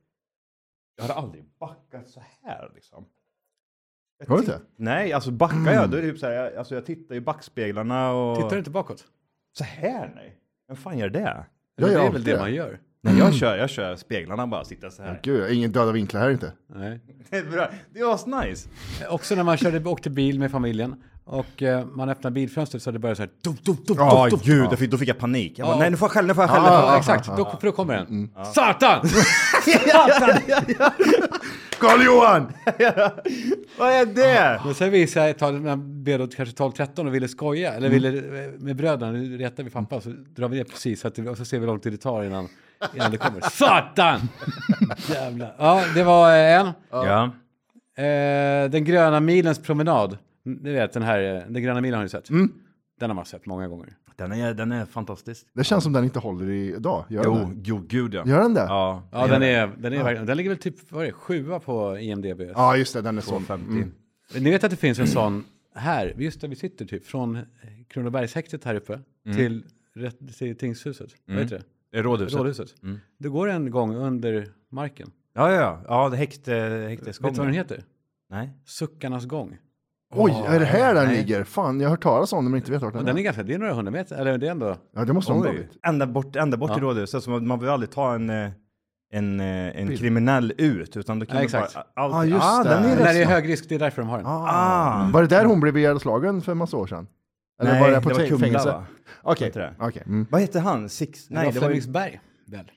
Jag har aldrig backat så här liksom. Har du inte? Nej, alltså backar jag, då är det typ så här, jag, alltså jag tittar i backspeglarna och... Tittar du inte bakåt? Så här nej. Vem fan gör det? Jag Eller gör det är väl alltid det det. man gör? Nej, jag kör, jag kör speglarna bara, sitta så här. Gud, ingen döda vinklar här inte. Nej. Det är bra. Det är asnice. Också när man körde, åkte bil med familjen och eh, man öppnar bilfönstret så det börjar så här... Dum, dum, dum, Ja, dum, dum. gud, jag fick, då fick jag panik. Jag bara, Ja. nej nu får jag skälla, nu får jag skälla. Ja, exakt. Då, för då kommer den. Mm. Satan! Karl-Johan! Vad är det? Men sen visade jag ett tag, när han blev då kanske 12-13 och ville skoja, eller Mm. ville eh, med bröderna, nu retar vi pappa, så drar vi ner precis, så att det, och så ser vi hur lång tid det tar innan, innan <laughs> det kommer. Satan! Jävlar. Ja, det var eh, en. Ja. Eh, den gröna milens promenad. Mm, Ni vet, den här, eh, den gröna milen har ni sett. Mm. Den har man sett många gånger. Den är, den är fantastisk. Det känns som den inte håller i- idag. Gör den Jo, det? jo, gud ja. Gör den det? Ja, Ja, den är, den är verkligen, den ligger väl typ, vad är det, sjua på IMDB. Ja, just det, den är så. 50. Ni vet att det finns en sån här, just där vi sitter typ, från eh, Kronobergshäktet här uppe till, rätt- till tingshuset. Vad heter det? Rådhuset. Rådhuset. Du går en gång under marken. Ja, ja, ja. Ja, det är häkte, Vet du vad den häktesgången. heter? Nej. Suckarnas gång. Oj, är det här den nej. ligger? Fan, jag har hört talas om den men inte vet vart Och den den är. är ganska, det är några hundra meter, eller det är ändå... Ja, det måste de ha tagit. Ända bort, ända bort till rådhuset, så man, man vill aldrig ta en, eh, en, eh, en kriminell ut, utan då kan Ja, man exakt. bara... Allt, Ah, Ja, Ah, just det. Den är När det är rätt... hög risk, det är därför de har den. Ah. Var det där hon blev ihjälslagen för en massa år sedan? Eller Nej, var det på det var fäng- Kumla, fängelse? va? Okej. Inte det? Okej. Mm. Vad hette han? Six... Nej, Nej, var det var ju... Flemingsberg, väl?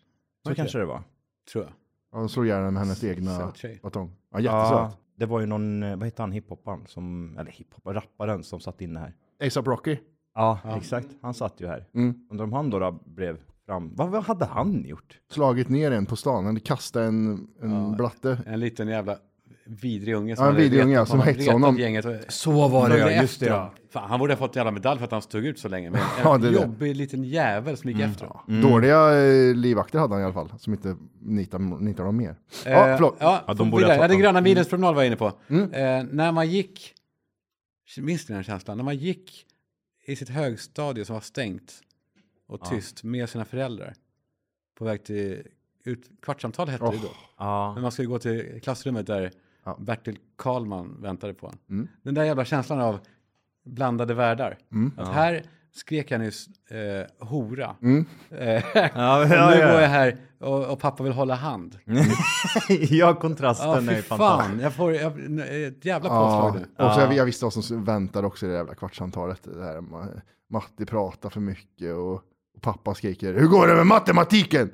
Så kanske det var. Tror jag. Ja, De slog ihjäl den med hennes egna Söt tjej. batong. Ja, jättesöt. det var ju någon, eh, vad hette han, hiphopparen som, eller hiphop, rapparen som satt inne här. ASAP Rocky. Ja, exakt. Han satt ju här. Mm. Undrar om han då, då blev fram... Vad, vad hade han gjort? Slagit ner en på stan, eller kastat en, en blatte. En liten jävla vidrig unge Ja, en hade vidrig retat- unge, man som hade hetsade retat honom. Gänget och, Så var Men ja, just det. efter Ja. honom. Fan, han borde ha fått en jävla medalj för att han stod ut så länge. Men en <laughs> Ja, det är det. jobbig liten jävel som gick Mm. efter honom. Dåliga eh, livvakter hade han i alla fall, som inte nitar, nitar dem mer. Eh, Ja, förlåt. Mm. Ja, Ja, ja, de borde ha tagit den dem. Mm. gröna milens promenad var jag inne på. Eh, när man gick, minns ni den här känslan? När man gick i sitt högstadie som var stängt och tyst med sina föräldrar på väg till ut, kvartssamtal hette det då. Men man skulle gå till klassrummet där Ja. Mm. Bertil Karlman väntade på en. Den där jävla känslan av blandade världar. Mm. Att här skrek jag nyss eh, hora. Mm. Eh, Ja, och ja, nu ja. går jag här och, och pappa vill hålla hand. <laughs> ja, kontrasten Ja, är ju fy fantastisk. fan. Jag får jag, ett jävla Ja, påslag nu. och så jag, jag visste vad som väntade också i det jävla kvartssamtalet. Det där, ma- Matti pratar för mycket och, och pappa skriker Hur går det med matematiken?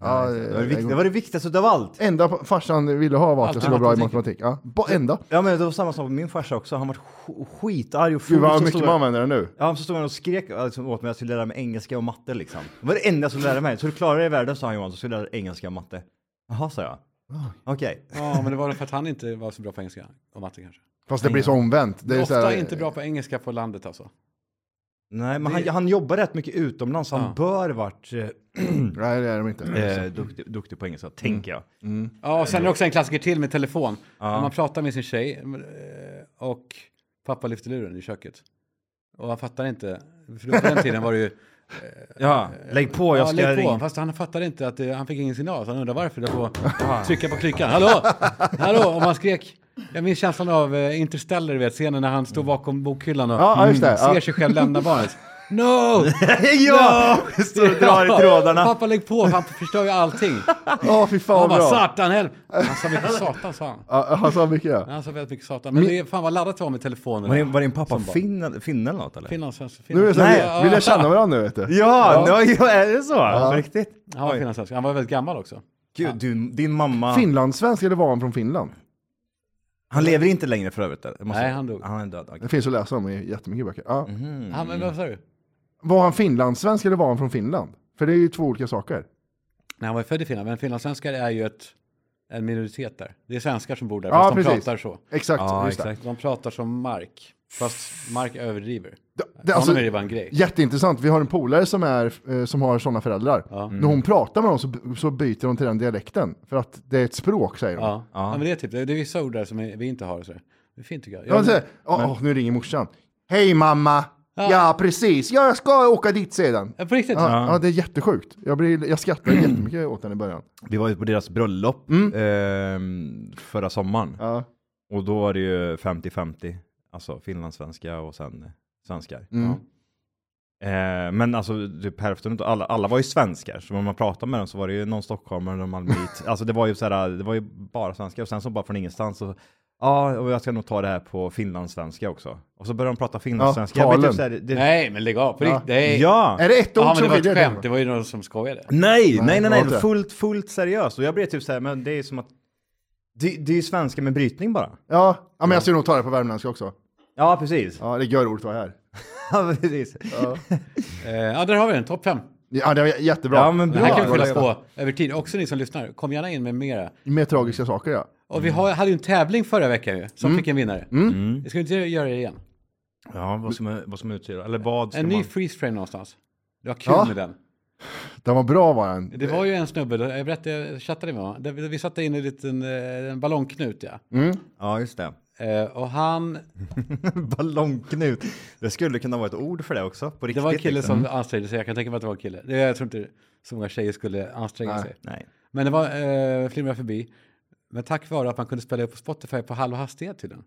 Ja, Det var det, det, vikt- det var det viktigaste utav allt. enda pa- farsan ville ha var att jag skulle vara bra i matematik. Matematik. Ja, bara enda. Ja men det var samma sak med min farsa också, han var sk- skitarg och full. Gud vad så mycket stod man jag, använder den nu. ja, så stod han och skrek liksom, åt mig att jag skulle lära mig engelska och matte liksom. Det var det enda jag skulle lära mig. Så du klarar dig i världen, sa han Johan, så skulle jag lära dig engelska och matte. Jaha, sa jag. Ah. Okej. Ja, men det var för att han inte var så bra på engelska och matte kanske. Fast det blir så omvänt. Det är så Ofta här, inte bra på engelska på landet alltså. Nej, men han, han jobbar rätt mycket utomlands, så han bör varit Nej, Ah. det Mm. är de inte. eh, duktig, duktig på engelska, tänker jag. Ja, och sen är det också en klassiker till med telefon. När man pratar med sin tjej eh, och pappa lyfter luren i köket. Och han fattar inte. För då på den tiden var det ju... Ja, lägg på, jag ja, ska lägg på. ringa. Fast han fattade inte att det, han fick ingen signal. Så han undrar varför. Då får trycka på klykan. Hallå! Hallå! Och man skrek. Jag minns känslan av eh, Interstellar, du vet, scenen när han står bakom bokhyllan och Mm. Ja, just det. ser Ja. sig själv lämna <laughs> barnet. <laughs> No! <laughs> <laughs> ja! Står och drar i trådarna. Pappa lägg på, han förstör ju allting. Åh, fy fan Han vad bara bra. satan helv. Han sa mycket satan sa han. Ja, Han sa mycket ja. Han sa väldigt mycket satan. Men det är, fan vad laddat det var med telefonen. Var din, var din pappa finn, finn eller något eller? Finlandssvensk. Nu är det så här, Nej. vi- vill jag känna varandra nu vet du. Ja, ja. är det så? På riktigt? Han var finlandssvensk. Han var väldigt gammal också. Gud, du, din mamma, Finlandssvensk eller var han från Finland? han lever inte längre för övrigt? Eller? Jag Måste, Nej, han dog. Han är död. okej. Mm. Det finns att läsa om i jättemycket böcker. Ja. Han, men vad sa du? Var han finlandssvensk eller var han från Finland? För det är ju två olika saker. Nej, han var ju född i Finland, men finlandssvenskar är ju ett, en minoritet där. Det är svenskar som bor där, Ja, fast de precis. pratar så. Exakt, Ja, just exakt. De pratar som Mark, fast Mark överdriver. det. det. Det, det alltså, Honom är det bara en grej. jätteintressant, vi har en polare som, är, eh, som har sådana föräldrar. När hon pratar med dem så, så byter de till den dialekten. För att det är ett språk säger de. Ja. Ja. men det är typ, det är vissa ord där som vi inte har. och Så där. det är fint tycker jag. Ja, jag men så här, åh, åh, nu ringer morsan. Hej mamma! Ja. precis, jag ska åka dit sedan. Ja, på riktigt? Ja, ja, det är jättesjukt. Jag, blir, jag <clears throat> skrattar jättemycket åt den i början. Vi var ju på deras bröllop Mm. ehm, förra sommaren. Ja. Och då var det ju 50-50. Alltså finlandssvenska och sen svenskar. Mm. Eh, men alltså typ hälften utav alla, alla var ju svenskar. Så när man pratade med dem så var det ju någon stockholmare och någon <laughs> malmöit. alltså det var ju såhär, det var ju bara svenskar. Och sen så bara från ingenstans så, ja, och jag ska nog ta det här på finlandssvenska också. Och så började de prata finlandssvenska. Ja, jag talen. vet, typ, såhär, det, Nej, men lägg av. På riktigt. Nej. Ja! Är det ett ord ja, men som det var skiljer? ett dig? skämt. Det var ju någon som skojade. Nej, nej, nej, det nej, var inte. fullt, fullt seriöst. Och jag blev typ såhär, men det är som att, det, det är ju svenska med brytning bara. Ja. ja, men jag ska nog ta det på värmländska också. Ja, precis. Ja, det gör ordet var här. <laughs> Ja, precis. Eh, ja, där har vi den. Topp fem. Ja, det var jä- jättebra. Ja, men Det här bra. kan vi det var fylla på över tid. Också ni som lyssnar, kom gärna in med mera. Med tragiska saker ja. Och vi har, hade ju en tävling förra veckan ju, som fick en vinnare. Vi ska inte göra det igen. Ja, vad ska man, vad ska man uttyda? Eller vad ska En man... ny freeze frame någonstans. Det var kul Ja. med den. Den var bra var den. Det var ju en snubbe, då- jag berättade, jag chattade med honom. Där Vi vi satte in en liten eh, en ballongknut ja. Ja, just det. <laughs> Eh, och han, Ballongknut. Det skulle kunna vara ett ord för det också, på det riktigt. var en kille liksom. som ansträngde sig, jag kan tänka mig att det var en kille. Det, jag tror inte så många tjejer skulle anstränga sig. Nej. Men det var eh, flimra förbi. Men tack vare att man kunde spela upp på Spotify på halv hastighet till den.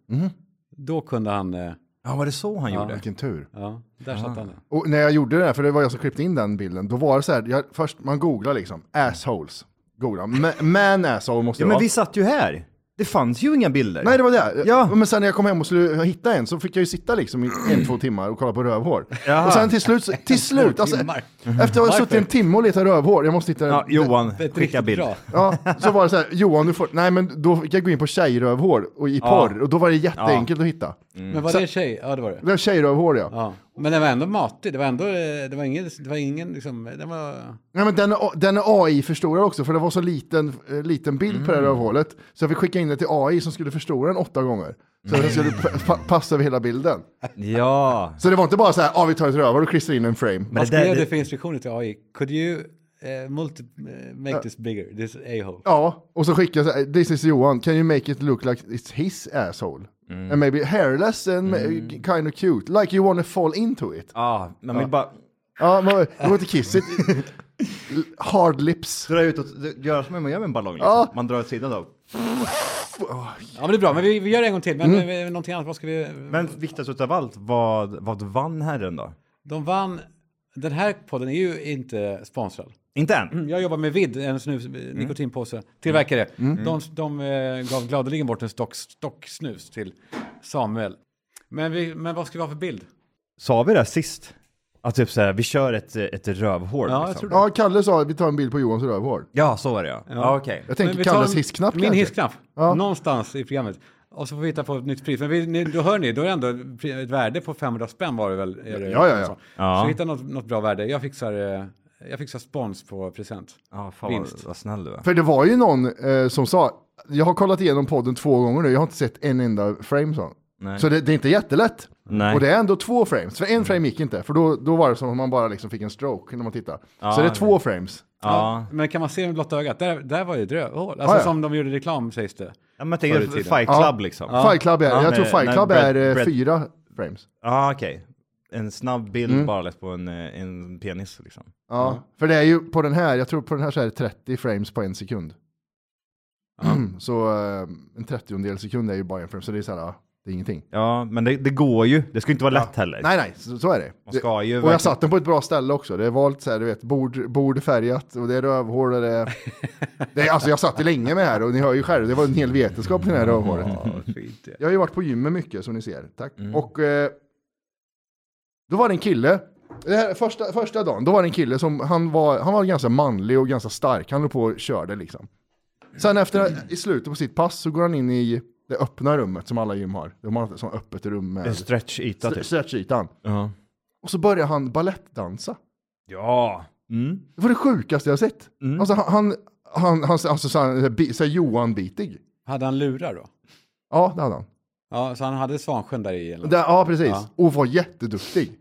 Då kunde han, eh, Ja, var det så han gjorde? Vilken tur. ja, där satt han den. Och när jag gjorde det där, för det var jag som klippte in den bilden, då var det så här, jag, först man googlar liksom, assholes. Googlar. Ma- Man asshole måste Ja, det men vara. vi satt ju här. Det fanns ju inga bilder. Nej, det var det. Ja. Men sen när jag kom hem och skulle hitta en så fick jag ju sitta liksom i en, två timmar och kolla på rövhår. Jaha. Och sen till slut, så- till slut, alltså, timmar. efter att ha suttit en timme och letat rövhår, jag måste hitta Ja, Johan, Det är ett skicka riktigt bild. bra. Ja, så var det så här, Johan du får, nej men då fick jag gå in på tjejrövhår och i porr och då var det jätteenkelt att hitta. Mm. Men var det en tjej? Ja, det var det. Det var tjejrövhår ja. Ja. Men den var ändå matig. Det var ändå, eh, det var ingen, det var ingen liksom, den var... Nej, men den, är- den är AI-förstorad också för det var så liten, eh, liten bild på det här rövhålet så jag fick skicka in det till AI som skulle förstora den åtta gånger. Så den skulle pa- pa- passa över hela bilden. Ja. Så det var inte bara så här, ja vi tar ett rövhål och klistrar in en frame. Men Vad det där- skrev det- du för instruktioner till AI? Could you eh, multi, eh, make this bigger, this a-hole? Ja, och så skickar jag så här, this is Johan, can you make it look like it's his asshole? And maybe hairless and kind of cute, like you wanna fall into it. Ja, men vi bara... Ja, men det var inte kissigt. Hard lips. Dra ut och göra som man gör med en ballong. Liksom. Ja. Man drar åt sidan då. Ja, men det är bra. Men vi, vi gör det en gång till. Mm. Men eh, någonting annat, vad ska vi... Men viktigast utav allt, vad, vad vann herren då? De vann... Den här podden är ju inte sponsrad. Inte än? Jag jobbar med Vid, en snus, Mm. nikotinpåse, tillverkare. De, de eh, gav gladeligen bort en stock, stock snus till Samuel. Men, vi, men vad ska vi ha för bild? Sa vi det sist? Att typ såhär, vi kör ett, ett rövhål Ja, jag liksom. tror det. Ja, Kalle sa att vi tar en bild på Johans rövhår. Ja, så var det ja. ja okej. Jag Men tänker vi tar Kalles en- hissknapp Min kanske. hissknapp. Någonstans i programmet. Och så får vi hitta på ett nytt pris. Men vi, ni, då hör ni, då är det ändå ett värde på 500 spänn var det väl? Är det, Ja, ja, ja. Så, Ja. så hitta något, något bra värde. Jag fixar, eh, jag fixar spons på present. Ja, fan vad, Vinst. vad snäll du är. För det var ju någon eh, som sa, jag har kollat igenom podden två gånger nu, jag har inte sett en enda frame sa han. Så det, det är inte jättelätt. Nej. Mm. Och det är ändå två frames, för en frame gick inte, för då, då var det som om man bara liksom fick en stroke när man tittar. Ah, så det är två frames. Ja. Men kan man se med blotta ögat? Där, där var ju ett rövhål. Alltså Ah, ja. som de gjorde reklam sägs det. ja, men jag Förr i tänker tiden. Fight Club Ja. liksom. Fight Club är, Ja, jag men- tror Fight nej, Club Brad- är eh, Brad- fyra frames. ah, okej. En snabb bild bara liksom, på en, eh, en penis liksom. Ja, för det är ju på den här, jag tror på den här så är det 30 frames på en sekund. så eh, en trettiondel sekund är ju bara en frame, så det är så här, ja, det är ingenting. Ja, men det, det går ju. Det ska inte vara lätt heller. Nej, nej, så, så är det. Man ska ju det och verkligen- jag satt den på ett bra ställe också. Det var lite så här, du vet, bord, bord färgat och det är rövhål och det är... det är... Alltså jag satt länge med det här och ni hör ju själv, det var en hel vetenskap i det här rövhålet. Fint, ja. Jag har ju varit på gymmet mycket som ni ser. Tack. Och eh, då var det en kille. Det här, första, första dagen, då var det en kille som han var, han var ganska manlig och ganska stark. Han höll på och körde liksom. Sen efter, i slutet på sitt pass så går han in i det öppna rummet som alla gym har. De har ett sånt öppet rum med En stretchyta typ. stretchytan. Ja. Och så börjar han ballettdansa. Ja. Mm. Det var det sjukaste jag har sett. Mm. Alltså han, han, han, han alltså, så här, bi- så här Johan-bitig. Hade han lurar då? Ja, det hade han. Ja, så han hade Svansjön där i? Eller? Det, ja, precis. Ja. Och var jätteduktig.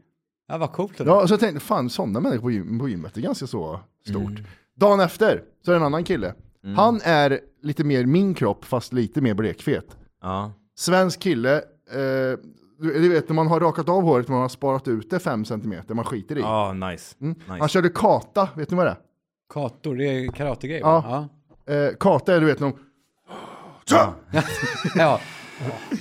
Ja, vad coolt det Ja, så jag tänkte, fan sådana människor på, gym, på gymmet är ganska så stort. Mm. Dagen efter så är det en annan kille. Han är lite mer min kropp, fast lite mer blekfet. Ja. Svensk kille, eh, du, du vet när man har rakat av håret, man har sparat ut det 5 cm, man skiter i. Ja, nice. nice. Han körde kata, vet ni vad det Kator, det är karategrej Ja. va? Ja. är? Eh, kata är du vet någon, så, ja.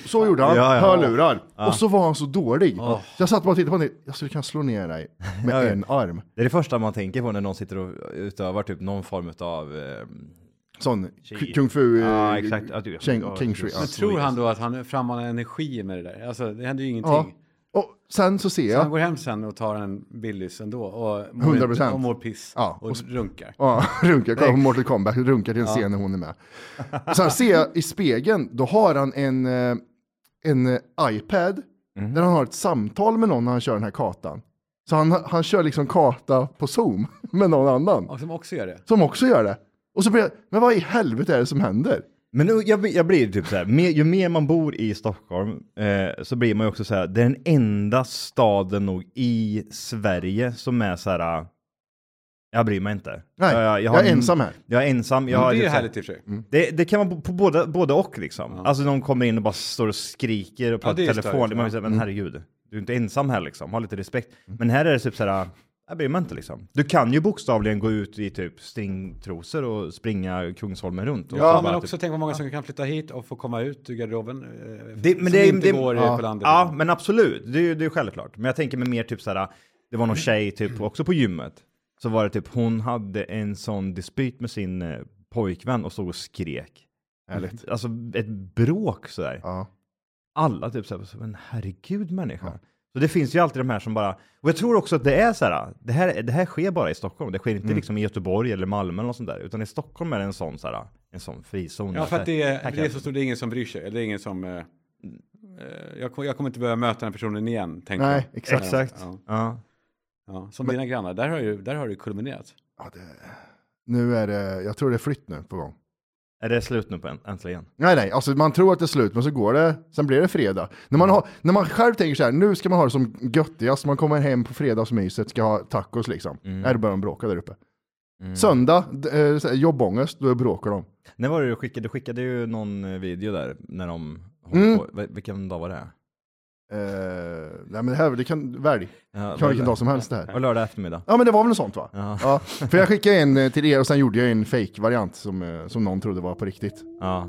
så gjorde han, Ja, ja. hörlurar. Och så var han så dålig. Så jag satt bara och tittade på honom, jag skulle kunna slå ner dig med Ja, ja. en arm. Det är det första man tänker på när någon sitter och utövar typ någon form av... Eh, Sån Shit. kung fu, eh, Ja, exakt. <laughs> Ja, du, jag Cheng- ska- King Shui. jag ja. Men tror han då att han frammanar energi med det där? Alltså, det händer ju ingenting. Ja. Och sen så ser Så han jag, går hem sen och tar en Billys ändå och mår, 100%. Och mår piss Ja, och, och runkar. ja, <laughs> runkar, kollar på Mortal Kombat, runkar till en scen när hon är med. Sen ser jag i spegeln, då har han en, eh, en eh, iPad Mm. där han har ett samtal med någon när han kör den här katan. Så han, han kör liksom kata på Zoom <laughs> med någon annan Och som också gör det. som också gör det. Och så blir jag, men vad i helvete är det som händer? Men nu, jag, blir- jag blir typ så här, mer, ju mer man bor i Stockholm eh, så blir man ju också så här, det är den enda staden nog i Sverige som är så här, äh, jag bryr mig inte. Nej, jag, jag är ensam här. Jag är ensam. Jag, har Mm. det är ju typ så här- härligt i och för sig. Mm. det, det kan vara på både, både och liksom. Alltså någon kommer in och bara står och skriker och pratar det är telefon. störigt, mm. man vill säga, men herregud, du är inte ensam här liksom. Ha lite respekt. Men här är det typ så här, jag bryr mig inte liksom. Du kan ju bokstavligen gå ut i typ stringtrosor och springa Kungsholmen runt. Och Ja, så men bara också tänk vad många som kan flytta hit och få komma ut ur garderoben. eh, Det- men som det är- inte det- går eh, ja. på landet. Ja, men absolut. Det är ju det är självklart. Men jag tänker mig mer typ så här, det var någon tjej typ också på gymmet. Så var det typ, hon hade en sån dispyt med sin eh, pojkvän och stod och skrek. Mhm. Härligt. Alltså ett bråk sådär. Ja. Alla typ såhär, men herregud människa. Så det finns ju alltid de här som bara, och jag tror också att det är så här, det här, det här sker bara i Stockholm. Det sker Mm. inte liksom i Göteborg eller Malmö eller något sånt där. Utan i Stockholm är det en sån så här, en sån frizon. Ja, där. för att det Här är, kan- det är så stort, det är ingen som bryr sig. Det är ingen som... Eh, eh, jag, kommer- jag kommer inte behöva möta den här personen igen, tänker jag. Nej, exakt. Exakt. Ja. Ja. Ja, som dina grannar, där har, ju, där har det kulminerat. Ja, det, nu är det, jag tror det är flytt nu på gång. Är det slut nu på en, äntligen? Nej, nej, alltså man tror att det är slut, men så går det, sen blir det fredag. När man, har, när man själv tänker så här, nu ska man ha det som göttigast, man kommer hem på fredagsmyset, ska ha tacos liksom. Nej, då börjar de bråka där uppe. Mm. Söndag, d- eh, så här, jobbångest, då bråkar de. När var det du skickade? Du skickade ju någon eh, video där när de höll Mm. på. Vil- Vilken dag var det? Eh, nej, men det här, det kan, välj, Ja, kan vilken dag som helst det här. Och lördag eftermiddag. Ja, men det var väl något sånt va? Ja. Ja, för jag skickade en eh, till er och sen gjorde jag en fake-variant som, eh, som någon trodde var på riktigt. Ja.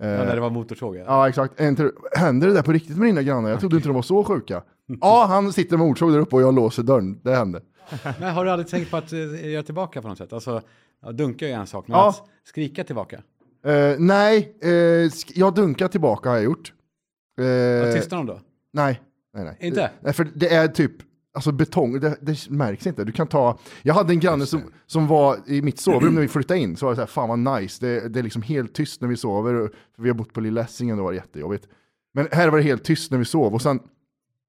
Ja, när det var motorsåg. Ja. Eh. Ja, exakt. En till. Händer det där på riktigt med dina grannar? Jag trodde inte de var så sjuka. Ja, han sitter med ordsåg där uppe och jag låser dörren. Det hände. Men har du aldrig tänkt på att eh, göra tillbaka på något sätt? Alltså, ja, dunka är ju en sak, men Ja. att skrika tillbaka? Eh, nej, eh, sk- jag dunkar tillbaka har jag gjort. Eh, Vad tystar de då? nej, nej, nej. Inte? Nej, för det är typ, alltså betong, det, det märks inte. Du kan ta, jag hade en granne som, som var i mitt sovrum när vi flyttade in, så var det så här, fan vad nice, det, det är liksom helt tyst när vi sover. Och- För vi har bott på Lilla Essingen och det var jättejobbigt. Men här var det helt tyst när vi sov och sen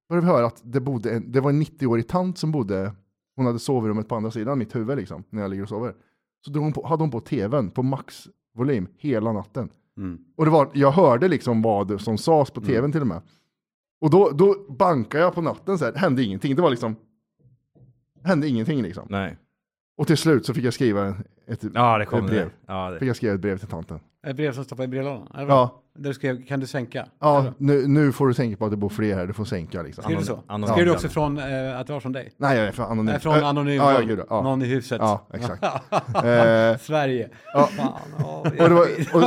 började vi höra att det, bodde en, det var en 90-årig tant som bodde, hon hade sovrummet på andra sidan mitt huvud liksom, när jag ligger och sover. Så drog hon på, hade hon på tvn på maxvolym hela natten. Och det var, jag hörde liksom vad som sades Mm. på tvn till och med. Och då, då bankade jag på natten så här, hände ingenting. Det var liksom, hände ingenting liksom. Nej. Och till slut så fick jag skriva en- ett, Ja, det ett kom brev. det. Ja, det. Fick jag skriva ett brev till tanten. Ett brev som stoppar i brevlådan? Eller vad? Ja, Där du skrev, kan du sänka? ja nu, nu får du tänka på att det bor fler här, du får sänka liksom. Skrev du Anon- så? anonym Skrev du granne. också från eh, att det var från dig? Nej, jag är från anonym. Nej, från Eh, anonym, Ja, ja, någon, gud, ja. någon i huset. ja <laughs> exakt. Eh, Sverige. Fan, ja, och det var, och,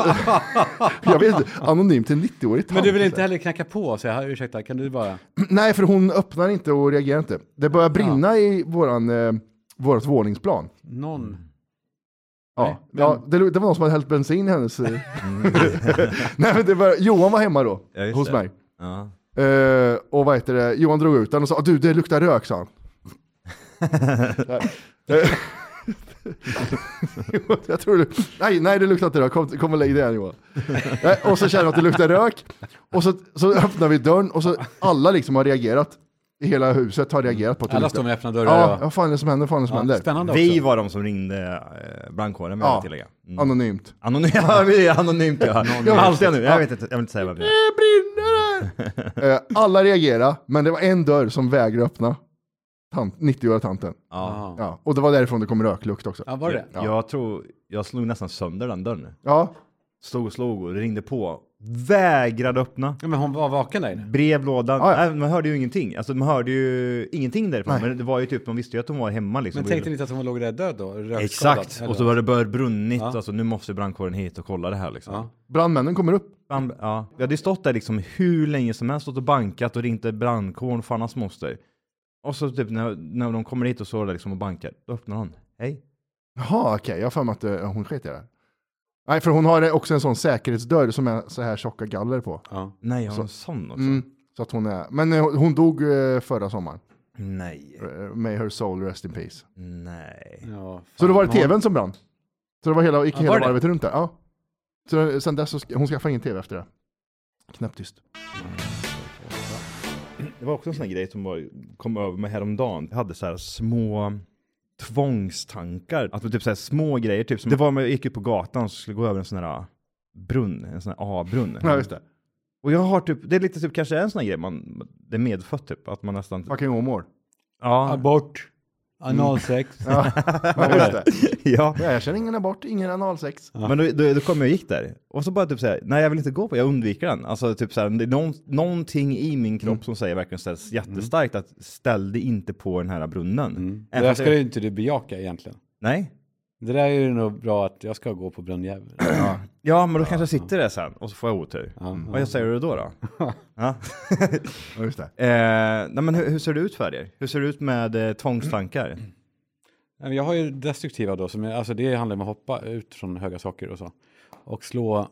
<laughs> jag vet inte, anonym till en 90-årig tant. Men du vill så inte här. heller knacka på och säga, ursäkta, kan du bara... Nej, för hon öppnar inte och reagerar inte. Det börjar brinna i våran, eh, vårat våningsplan. Någon. Mm. Ja, ja det, det var någon som hade hällt bensin i hennes... eh. <laughs> Nej, men det var, Johan var hemma då, Mm. Ja, just hos det. mig. Ja. Eh, och vad heter det, <laughs> Johan drog ut den och sa du det luktar rök sa han. Jo, jag tror du... Nej, nej, det luktar inte rök. Kom, kom och lägg dig här Johan. Nej, och så känner jag att det luktar rök. Och så, så öppnar vi dörren och så alla liksom har reagerat. I hela huset har reagerat på att det Alla luktar. står med öppna dörrar. Ja, och- vad fan är det som händer? Vad fan är det som Ja, händer? spännande Vi också. var de som ringde eh, brandkåren vill Ja. jag tillägga. Mm. Anonymt. Anonymt, ja, <laughs> vi är anonymt ja. Allt jag nu, jag vet inte, jag vill inte säga vem det är. Det brinner <laughs> här! Eh, alla reagerade, men det var en dörr som vägrade öppna. Tant, 90-åriga tanten. Ja. Ja, och det var därifrån det kom röklukt också. ja, var det Ja. Jag tror, jag slog nästan sönder den dörren. Ja, Stod och slog och ringde på. Vägrade öppna. ja, men hon var vaken Mm. där inne. Brevlådan, Ja, ja. Nej, man hörde ju ingenting. Alltså man hörde ju ingenting därifrån. Men det var ju typ, man visste ju att hon var hemma liksom. Men tänkte ni inte att hon låg där död då? Rökskadad, Exakt, eller och så vad? var det börjat brunnit. Ja. Alltså nu måste brandkåren hit och kolla det här liksom. Ja. brandmännen kommer upp. Bam- ja. Vi hade ju stått där liksom hur länge som helst, stått och bankat och ringt till brandkåren och fan hans moster. Och så typ när, när de kommer hit och står där liksom och bankar, då öppnar hon. Hej. Jaha, okej, jag har för mig att eh, hon sket i det. här. Nej, för hon har också en sån säkerhetsdörr som är så här tjocka galler på. Ja. Nej, jag har Så- en sån också. Mm, så att hon är... Men eh, hon dog eh, förra sommaren. Nej. Eh, May her soul rest in peace. Nej. Ja, fan. Så då var det tvn som brann. Så det var hela, gick Ja, hela var det? varvet runt där. Ja. Så sen dess så, sk- hon skaffade ingen tv efter det. Knäpptyst. Det var också en sån här grej som var, kom över mig häromdagen. Jag hade så här små tvångstankar. Att det var typ så här små grejer. Typ som, det var när jag gick ut på gatan och skulle gå över en sån här brunn, en sån här A-brunn. Ja, just det. Och jag har typ, det är lite typ kanske en sån här grej man, det är medfött typ. Att man nästan, Fucking Åmål. ja. Abort. Mm. Analsex. Ja, just det. <laughs> ja. Ja, Jag känner ingen abort, ingen analsex. Men då, då, då kom jag och gick där. Och så bara typ såhär, nej jag vill inte gå på, jag undviker den. Alltså typ såhär, det är någon, någonting i min kropp som säger verkligen såhär, jättestarkt att ställ dig inte på den här brunnen. Det Även där fast ska jag, ju inte du bejaka egentligen. nej. Det där är ju nog bra att jag ska gå på brunnjäveln. Ja, men då kanske jag sitter där sen och så får jag otur. Mm. Vad jag säger du då då? ja. Ja, just det. eh, nej men hur, hur ser det ut för er? Hur ser det ut med eh, tvångstankar? Nej, men Jag har ju destruktiva då, som är, alltså det handlar om att hoppa ut från höga saker och så. Och slå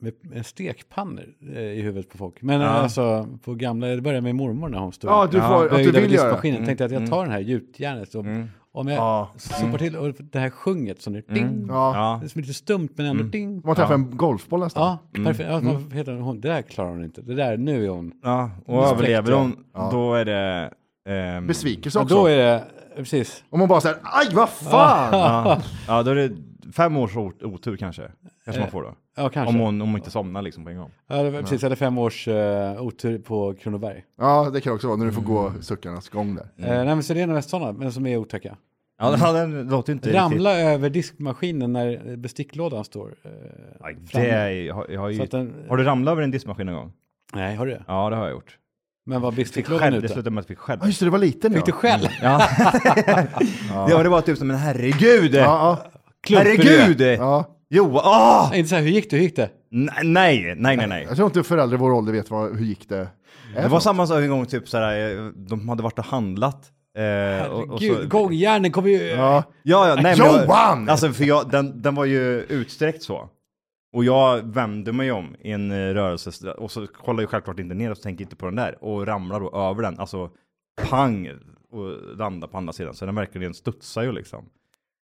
med, med stekpannor eh, i huvudet på folk. Men alltså på gamla, det började med mormor när hon stod Ja, du får, att du böjd över vill göra det. diskmaskinen. Tänkte att jag tar den här gjutjärnet och om jag sopar till och det här sjunget som nu, ding, Ja. Ja. det är som lite stumt men ändå ding. Man träffar en golfboll nästan. Ja, perfekt. Ja, vad heter hon? Det där klarar hon inte. Det där, nu är hon... ja. Och Respekt, överlever ja. hon, då är det... ehm, Besvikelse Ja, också. då är det, precis. Om man bara säger aj vad fan! <laughs> ja, ja, då är det fem års ot- otur kanske. Kanske man får då. Ja, Eh, kanske. Om hon, om hon inte somnar liksom på en gång. Ja, det var precis, jag hade fem års uh, otur på Kronoberg. Ja, det kan också vara när du får Mm. gå suckarnas gång där. Mm. Eh, nej, men så det är nog mest sådana, men som är otäcka. Ja, den låter inte Ramla över diskmaskinen när besticklådan står. eh, riktigt... fram. Det är, jag, har- jag har, Så ju, att den, har du ramlat över en diskmaskin någon gång? nej, har du det? Ja, det har jag gjort. Men var besticklådan Själv, ute? det slutade med att jag fick själv. Ja, just det, det var liten Fick du ja. själv? Ja. ja, men det var typ som en herregud! Ja, ja, Klump för herregud! ja. Jo, åh! det. Inte så här, hur gick det? Hur gick det? Nej, nej, nej, nej. nej. Jag tror inte föräldrar i vår ålder vet vad, hur gick det. Det var samma sak en gång, typ såhär, eh, de hade varit och handlat. Eh, och, och så, Gud, gångjärnen kommer ju... Ja. Ja, ja, nej, men jag- Johan! Alltså, för jag, den, den var ju utsträckt så. Och jag vände mig om i en eh, rörelse, och så kollar jag självklart inte ner och så tänker inte på den där. Och ramlar då över den, alltså pang, och landar på andra sidan. Så den verkligen studsar ju liksom.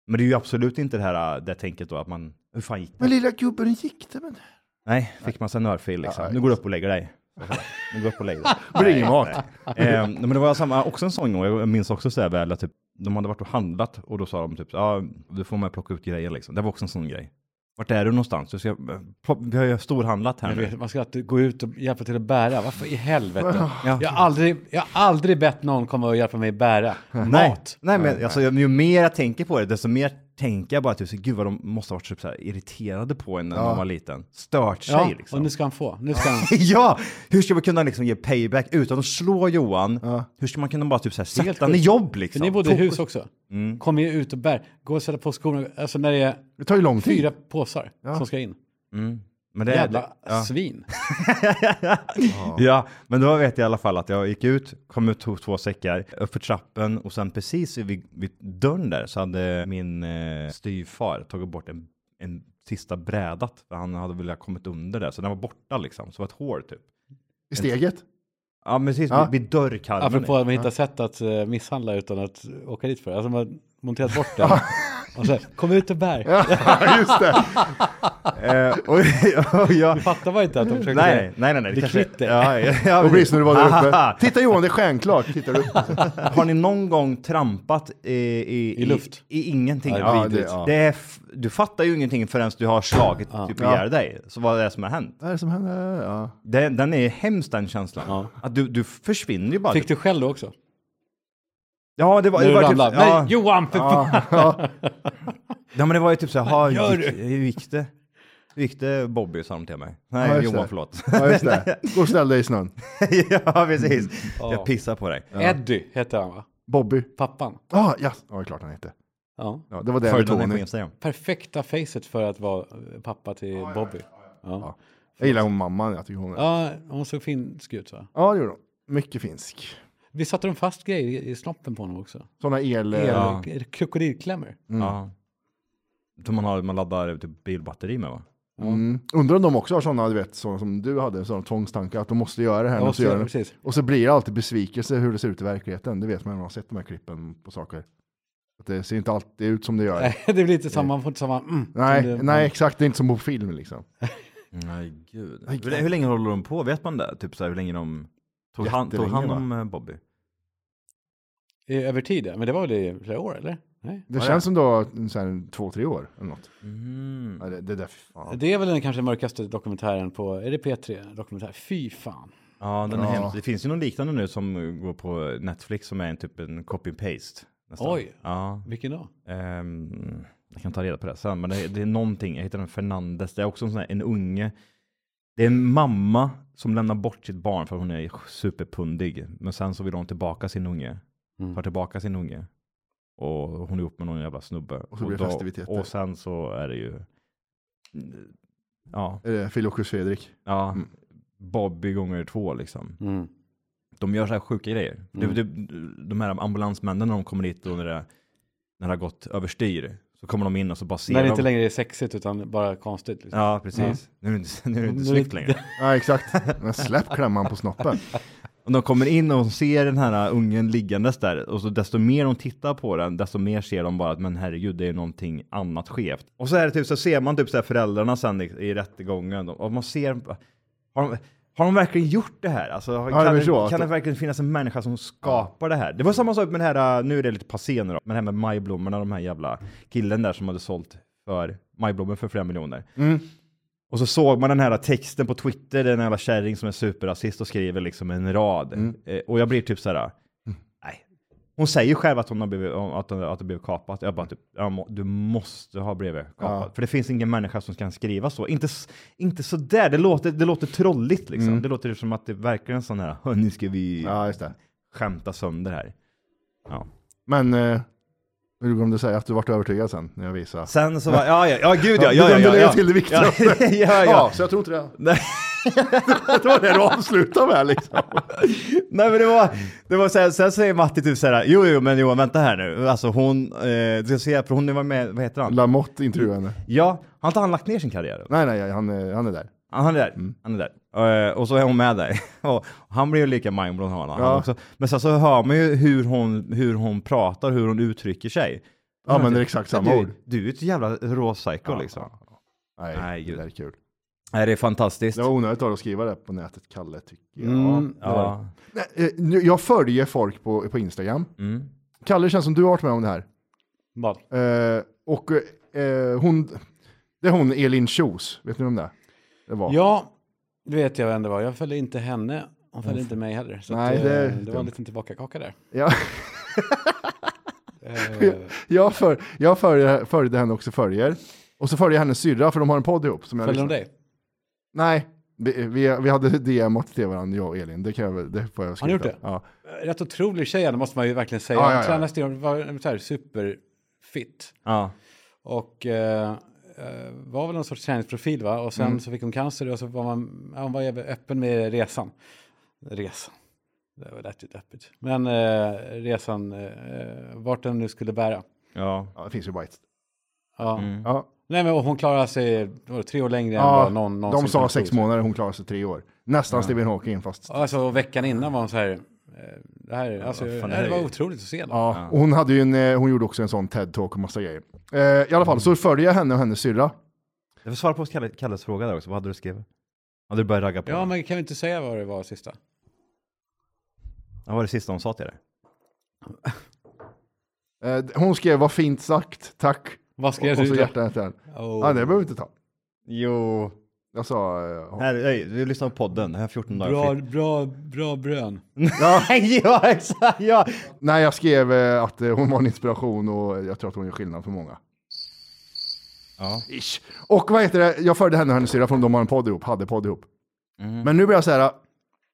Men det är ju absolut inte det här eh, det tänket då att man, hur fan gick det? Men lilla gubben, hur gick det med det? Nej, fick man sig en örfil liksom. Ja, Nu går du upp och lägger dig. <laughs> Nu går du upp och lägger dig. Blir ingen mat. Eh, men det var samma, också en sån gång, jag minns också så här väl att typ, de hade varit och handlat och då sa de typ, ja, du får med att plocka ut grejer liksom. Det var också en sån grej. Vart är du någonstans? Du ska, plock- vi har ju storhandlat här Jag nu. vet, man ska alltid gå ut och hjälpa till att bära. Varför i helvete? Ja. Jag, har aldrig, jag har aldrig bett någon komma och hjälpa mig bära Nej, mat. nej men alltså, ju mer jag tänker på det, desto mer tänker jag bara typ, så, gud vad de måste ha varit typ, så här, irriterade på en när man var liten. Stört sig Ja, liksom. och nu ska han få. Nu <laughs> ska han... Ja, hur ska man kunna liksom ge payback utan att slå Johan? Hur ska man kunna bara typ så här, helt sätta han i sjukt. jobb För liksom? ni bodde i Fokus- Mm. hus också. Kommer ju ut och bär. Gå och sätta på skorna. Alltså när det är Det tar ju lång tid. fyra påsar som ska in. Men det, det, Jävla ja. svin. Ja, men då vet jag i alla fall att jag gick ut, kom ut, tog två säckar, upp för trappen och sen precis vid, vid dörren där så hade min eh, styvfar tagit bort en, en sista brädat. För han hade väl kommit under där, så den var borta liksom. Så det var ett hål typ. I steget? <laughs> Ja, men precis Ja. vid, vid dörrkarmen. <laughs> Apropå att man hittar sätt att eh, misshandla utan att åka dit för det. Alltså man har monterat bort den. Och så, kom ut och bär. Ja, just det. Eh, och, <laughs> och jag, Du fattar bara inte att de försökte... nej, nej, nej, nej. Det klitter. Ja, ja, ja, Och precis när du var <laughs> där uppe. Ahaha. Titta Johan, det är stjärnklart. Tittar <laughs> du? Har ni någon gång trampat i, i, I luft? I, ingenting? Ja, det är vidrigt. Ja. Det är f- du fattar ju ingenting förrän du har slagit typ ihjäl dig. Så vad är det som har hänt? Vad är det som händer? Ja. Det, den är hemskt den känslan. Ja. Att du, du försvinner ju bara. Fick du skäll då också? Ja, det var, När det du var ramlade? typ, ja, Nej, Johan! För fan. ja, men det var ju typ så här, "Ha, gör hur gick, hur gick det? Hur gick det Bobby, sa de till mig. Nej, Ja, just Johan, det. förlåt. <laughs> ja, just det. Gå och ställ dig i snön. ja, precis. Jag pissar på dig. Eddie hette han va? Bobby. Pappan. Ah, ja, ja, det är klart han heter. Ja. Ja, det var det med Följde honom på Tony. Instagram. Perfekta facet för att vara eh, pappa till Bobby. Ja. Jag gillar hon mamman, jag tycker hon är... ja, hon såg finsk ut va? Ja, det gjorde hon. Mycket finsk. Vi satte de fast grejer i- i snoppen på honom också. Sådana el... El, Ja. Krokodilklämmor. Ja. Som man, har, man laddar typ bilbatteri med va? Mm. Undrar om de också har sådana, du vet, sådana som du hade, sådana tvångstankar, att de måste göra det här. Ja, måste så- göra det. precis. <laughs> Och så blir det alltid besvikelse hur det ser ut i verkligheten. Det vet man när man har sett de här klippen på saker. Att det ser inte alltid ut som det gör. Nej, Nej, det blir inte samma, man får inte samma... Mm, som nej, det- exakt. Det är inte som på film liksom. Nej gud. Hur, hur länge håller de på? Vet man det? Typ så här, hur länge de tog hand, tog Jättelänge, hand va? om eh, Bobby? i- Över tid, ja. men det var väl i flera år eller? Nej. Det känns som då så här, två, tre år eller något. Mm. Ja, det, det där, fan. Det är väl den kanske mörkaste dokumentären på, är det P3 dokumentär? Fy fan. Ja, den är Ja. hemsk. Det finns ju någon liknande nu som eh, går på Netflix som är en typ en copy-paste. nästan. Oj. Ja. Vilken då? ehm, jag kan ta reda på det sen, men det, det är någonting. Jag hittade en Fernandes. Det är också en sån här, en unge. Det är en mamma som lämnar bort sitt barn för hon är superpundig. Men sen så vill hon tillbaka sin unge. Mm. Tar tillbaka sin unge. Och hon är ihop med någon jävla snubbe. Och så blir det då- festiviteter. Och sen så är det ju... Ja, Är det Filokus Fredrik? ja. Mm. Bobby gånger två liksom. Mm. De gör så här sjuka grejer. Det, det, de här ambulansmännen när de kommer dit och när det, när det har gått överstyr så kommer de in och så bara ser När det de. inte längre är sexigt utan bara konstigt. Liksom. Ja, precis. Nu är det inte, nu är det inte Nu är det- snyggt längre. Ja, exakt. Men släpp klämman på <laughs> snoppen. Och de kommer in och ser den här ungen liggandes där och så desto mer de tittar på den, desto mer ser de bara att men herregud, det är någonting annat skevt. Och så är det typ så ser man typ så här föräldrarna sen i, i rättegången och man ser har de, har de verkligen gjort det här? Alltså, det kan, är det, så att- kan det verkligen finnas en människa som skapar det här? Det var samma sak med det här, äh, nu är det lite passé nu då, men det här med majblommorna, de här jävla killen där som hade sålt för majblommor för flera miljoner. Och så såg man den här texten på Twitter, den jävla kärring som är superrasist och skriver liksom en rad. Eh, Och jag blir typ så här. nej. Hon säger ju själv att hon har blivit, att, hon- att det blev kapat. Jag bara typ, "Ja, må- du måste ha blivit kapad. För det finns ingen människa som kan skriva så. Inte, s- inte så där, det låter, det låter trolligt liksom. Det låter som att det verkar en sån här, "Hå, nu ska vi Ja, just det. skämta sönder här. Ja. Men eh, hur glömde säga att du vart övertygad sen när jag visade. Sen så var, ja, ja, ja, gud ja, Ja, du ja, ja, glömde ja, lägga ja. till det viktigaste. <laughs> Ja, ja, ja. Ja, så jag tror inte det. <laughs> Nej. det var det du avslutade med liksom. Nej men det var, det var så här, sen säger Matti typ så här, jo jo men Johan vänta här nu, alltså hon, eh, du ska se, för hon var med, vad heter han? Lamotte intervjuade henne. Ja, har inte han lagt ner sin karriär? eller? Nej, nej, han, är- han är där. Han är där, Mm. han är där. Eh, och så är hon med där. <laughs> och han blir ju lika mindblown han, han Ja. också. Men sen så hör man ju hur hon, hur hon pratar, hur hon uttrycker sig. Ja, men det är exakt samma du, ord. Du är ett jävla råpsycho liksom. Nej, Nej, det gud. där är kul. Nej det är fantastiskt. Det var onödigt av dig att skriva det på nätet, Kalle, tycker jag. Mm. Ja. Nej, eh, nu- Jag följer folk på, på Instagram. Mm. Kalle, det känns som du har varit med om det här. Vad? Eh, och eh, hon, det är hon Elin Kjos, vet ni om det? det var. Ja, det vet jag vem det var. Jag följde inte henne. Hon följde inte mig heller. Så Mm. Nej, att, eh, det är det var en dumt. liten <laughs> tillbakakaka där. Ja, Eh, jag för, jag följer, följde henne också följer. Och så följer jag hennes syrra, för de har en podd ihop. Som jag Följde de lyssnar- dig? Nej, vi, vi, vi hade DMat till varandra, jag och Elin. Det, kan jag, väl- det får jag Har ni gjort skriva. det? Ja. Rätt otrolig tjej, det måste man ju verkligen säga. Ja, ja, Hon ja. tränar stenhårt, var så här superfit. Ja. Och eh, eh, var väl någon sorts träningsprofil va? Och Mm. sen så fick hon cancer och så var man, ja, hon var jävligt öppen med resan. Resan. Det var lät ju deppigt. Men eh, resan, eh, vart den nu skulle bära. Ja. Mm. Ja, det finns ju White. Ja. Ja. Nej men och hon klarade sig vad var det, tre år längre än Mm. Ja, vad någon någonsin de sa kunde sex tro. månader, hon klarade sig tre år. Nästan Stephen Hawking fast. Alltså och veckan innan var hon så här, Eh, Det här, alltså, vad fan, det det här här var är ju- otroligt att se. Ja. Ja, och hon, hade ju en, eh, hon gjorde också en sån TED-talk och massa grejer. Eh, I alla fall, så följer jag henne och hennes syrra. Jag får svara på Kalle, Kalles fråga där också, vad hade du skrivit? Hade du börjat ragga på? ja, men kan vi inte säga vad det var sista? Vad var det sista hon sa till dig? Eh, hon skrev vad fint sagt, tack. Vad Och, skrev och så du? då? hjärtat där. Oh. Ja, det behöver vi inte ta. Jo, Jag sa... Eh, här, nej, du lyssnar på podden, det här är 14 dagar Bra, fritt. <laughs> bra, bra brön. Nej, ja exakt, ja! nej, jag skrev eh, att eh, hon var en inspiration och jag tror att hon gör skillnad för många. Ja. Ish. Och vad heter det, jag följde henne och hennes syrra från de har en podd ihop, hade podd ihop. Mm. Men nu blir jag så här,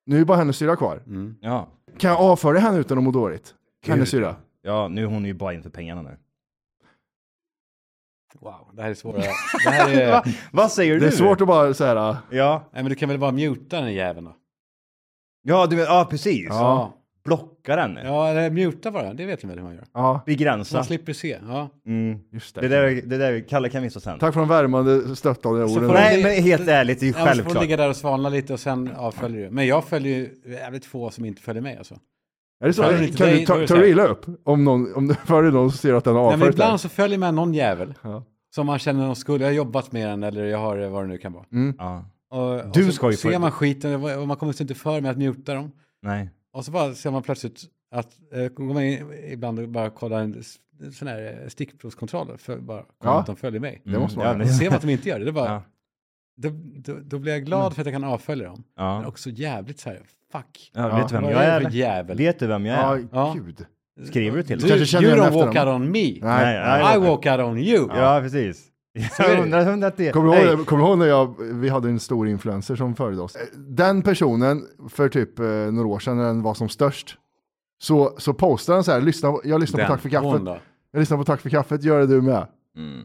nu är bara hennes syrra kvar. Ja, Kan jag avföra henne utan att må dåligt? Hennes syrra. ja nu är hon ju bara in för pengarna nu. Wow, det här <laughs> är svårare. Det här är... Nej, Vad säger du? Det är svårt att bara så här, ah. Ja, men du kan väl bara muta den jäveln då? ja, du, ja precis. Ja. Blocka den, Ja, eller muta bara. Det vet ni väl hur man gör? ja, begränsa. Man slipper se. Ja. Mm. just Det det. där, det där, Kalle kan visa sen. Tack för de värmande stöttande orden. får Nej, Det- men helt ärligt, det är ju Självklart. får du självklart. ligga där och svalna lite och sen avföljer du. Men jag följer ju jävligt få som inte följer mig alltså. Är det så? Ja, det är Kan inte dig, du då ta, är det tar så här. du illa upp om, någon, <laughs> om du följer någon som ser att den har Nej, men avfört dig? ibland så följer man någon jävel Ja. som man känner någon skuld. Jag har jobbat med den eller jag har eh, vad det nu kan vara. Ja. Och, och Du så ska ju ser följa- man skiten och man kommer sig inte för med att muta dem. Nej. Och så bara ser man plötsligt att, eh, går man in ibland och bara kollar en s- en sån här eh, stickprovskontroll, för bara kolla Ja. att de följer mig. Det måste man Mm. ja, göra. Då ser man att de inte gör det. det är bara, Ja. då, då, då blir jag Mm. glad för att jag kan avfölja dem. Men Ja. också jävligt så här, fuck. Ja, Ja. Vet du vem Vad jag är? är det för eller? jävel? Vet du vem jag är? Ja, Ja. Ah, gud. Skriver du till Du, mig? Kanske känner you den don't efter walk dem. out on me. Nej. Nej, nej. I walk out on you. Ja, precis. är <laughs> det. Jag undrar undrar att det... Kommer du Nej. ihåg, kommer du ihåg när jag, vi hade en stor influencer som följde oss? Den personen, för typ eh, några år sedan när den var som störst, så, så postade han så här, lyssna, jag lyssnar Den. på Tack för Hon kaffet, då? Mm. jag lyssnar på Tack för kaffet, gör det du med.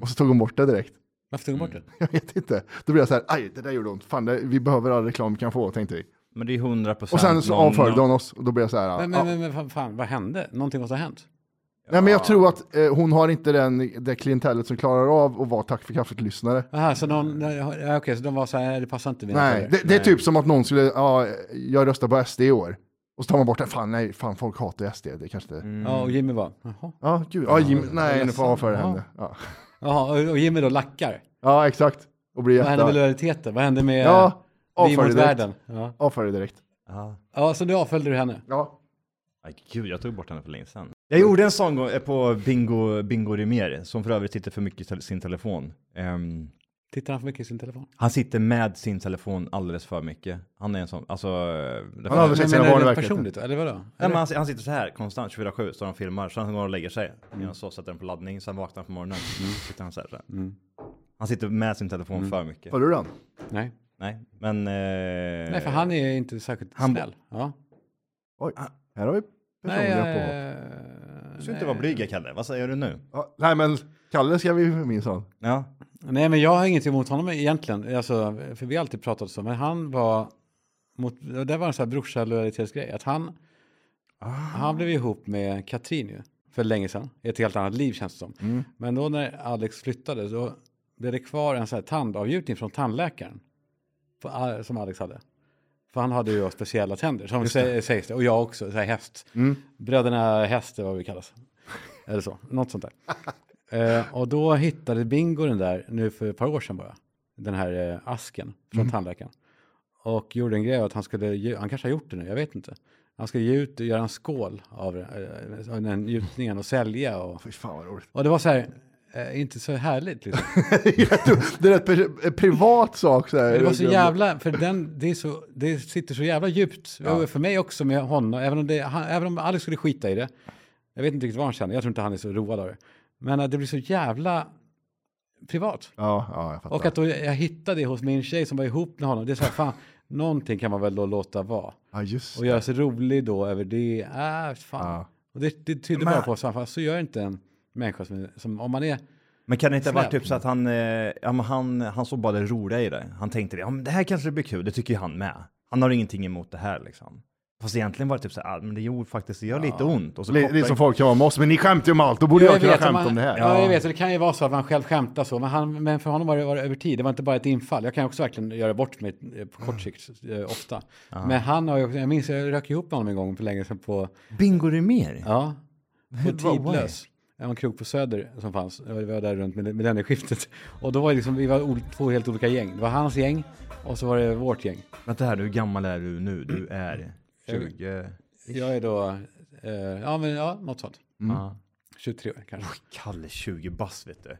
Och så tog hon bort det direkt. <laughs> Varför tog hon bort det? Jag vet inte. Då blev jag så här, aj, det där gjorde ont. Fan, det, vi behöver all reklam vi kan få, tänkte vi. Men det är 100 procent. Och sen så avföljde hon oss, och då blev jag så här, Men, ja. men, men, men fan, fan, vad hände? Någonting måste ha hänt. Nej, men jag tror att eh, hon har inte den, det klientellet som klarar av att vara Tack för kaffet-lyssnare. Aha, så någon, ja, okej, så de var så här, det passar inte mina Mm. Nej, följare. det, det är typ som att någon skulle, ja, jag röstar på SD i år. Och så tar man bort det, fan nej, fan folk hatar SD, det kanske inte... Ja, och Jimmy bara, jaha. Ja, gud, ja, Jim, nej, nu ledsen. får jag avföra Ja. henne. Ja. Jaha, och- och Jimmy då lackar. ja, exakt. Och blir Vad hände med jätte... lojaliteten? Vad hände med Ja, eh, vi mot avfölj direkt. världen? Ja. Avfölj direkt. ja, så nu avföljde du henne. Ja. Aj, gud, jag tog bort henne för länge sedan. Jag gjorde en sån gång eh, på Bingo, Bingo Rimér, som för övrigt sitter för mycket i tel- sin telefon. Ehm, Tittar han för mycket i sin telefon? han sitter med sin telefon alldeles för mycket. Han är en sån, alltså... eh, det- Han har aldrig sett sina barn i det verkligheten. personligt eller vadå? Nej, men han, han sitter så här konstant 24-7, står och filmar, sen går han och lägger sig. Mm. Så sätter den på laddning, sen vaknar han på morgonen. Sitter han, så här, så här. han sitter med sin telefon för mycket. Följer du den? Nej. Nej, men... Eh, Nej, för han är inte särskilt han- snäll. Ja. Oj, här har vi Nej, personliga eh, påhopp. Du ska inte vara blyg, Kalle. Vad säger du nu? Ja, nej, men Kalle ska vi minsann. Ja. Nej, men jag har inget emot honom egentligen. Alltså, för vi har alltid pratat så. Men han var... Mot, det var en sån här brorsalojalitetsgrej. Att han... Han blev ihop med Katrin ju. För länge sedan. I ett helt annat liv känns det som. Men då när Alex flyttade så blev det kvar en sån här tandavgjutning från tandläkaren. På, som Alex hade. För han hade ju speciella tänder. Som sä- sägs det. Och jag också. Så här häst. Bröderna häst är vad vi kallas. Eller så. Något sånt där. Eh, och då hittade Bingo den där, nu för ett par år sedan bara, den här eh, asken från tandläkaren. Och gjorde en grej av att han skulle, ge- han kanske har gjort det nu, jag vet inte. Han skulle ge ut, göra en skål av, eh, av den gjutningen och sälja. Och, Fy fan vad roligt. <laughs> och det var så här, eh, inte så härligt liksom. det är rätt per- eh, privat sak. Så här. Det var så jävla, för den, det, är så, det sitter så jävla djupt. Och För mig också med honom, även om, det, han, även om Alex skulle skita i det. Jag vet inte riktigt vad han känner, jag tror inte han är så road av det. Men eh, det blir så jävla privat. Ja, ja, jag fattar. Och att då jag hittade det hos min tjej som var ihop med honom. Det är så här, fan, någonting kan man väl då låta vara. Ja, just Och det. göra sig rolig då över det. Äh, fan. Och det, det tyder bara på, så, här, fan, så gör inte en människa som, som om man är... Men kan det inte ha varit Snäll. typ så att han, eh, ja, men han, han såg bara det roliga i det. Han tänkte det, ja, men det här kanske blir kul, det tycker ju han med. Han har ingenting emot det här liksom. Fast egentligen var det typ så här, ah, men det gjorde faktiskt, det gör lite ont. Och så Det, det är liksom- kopplar- som folk kan vara med oss, men ni skämtar ju om allt, då borde jag, kunna vet, skämta man- om det här. Ja, jag vet. och Det kan ju vara så att man själv skämtar så. Men, han, men för honom var det, var det över tid. Det var inte bara ett infall. Jag kan också verkligen göra bort mig eh, på kort sikt eh, ofta. Men han har ju också, jag minns, jag rök ihop med honom en gång för länge sedan på, Bingo Rimér? ja, på Vad- vad- Tidlös. Det var en krog på Söder som fanns. Jag var där runt med, med den i skiftet. Och då var det liksom, vi var ol- två helt olika gäng. Det var hans gäng och så var det vårt gäng. Vänta här, hur gammal är du nu? Du är 20... Jag är då, eh, ja men ja, något sånt. Ja. 23 år kanske. Kalle 20 bass vet du.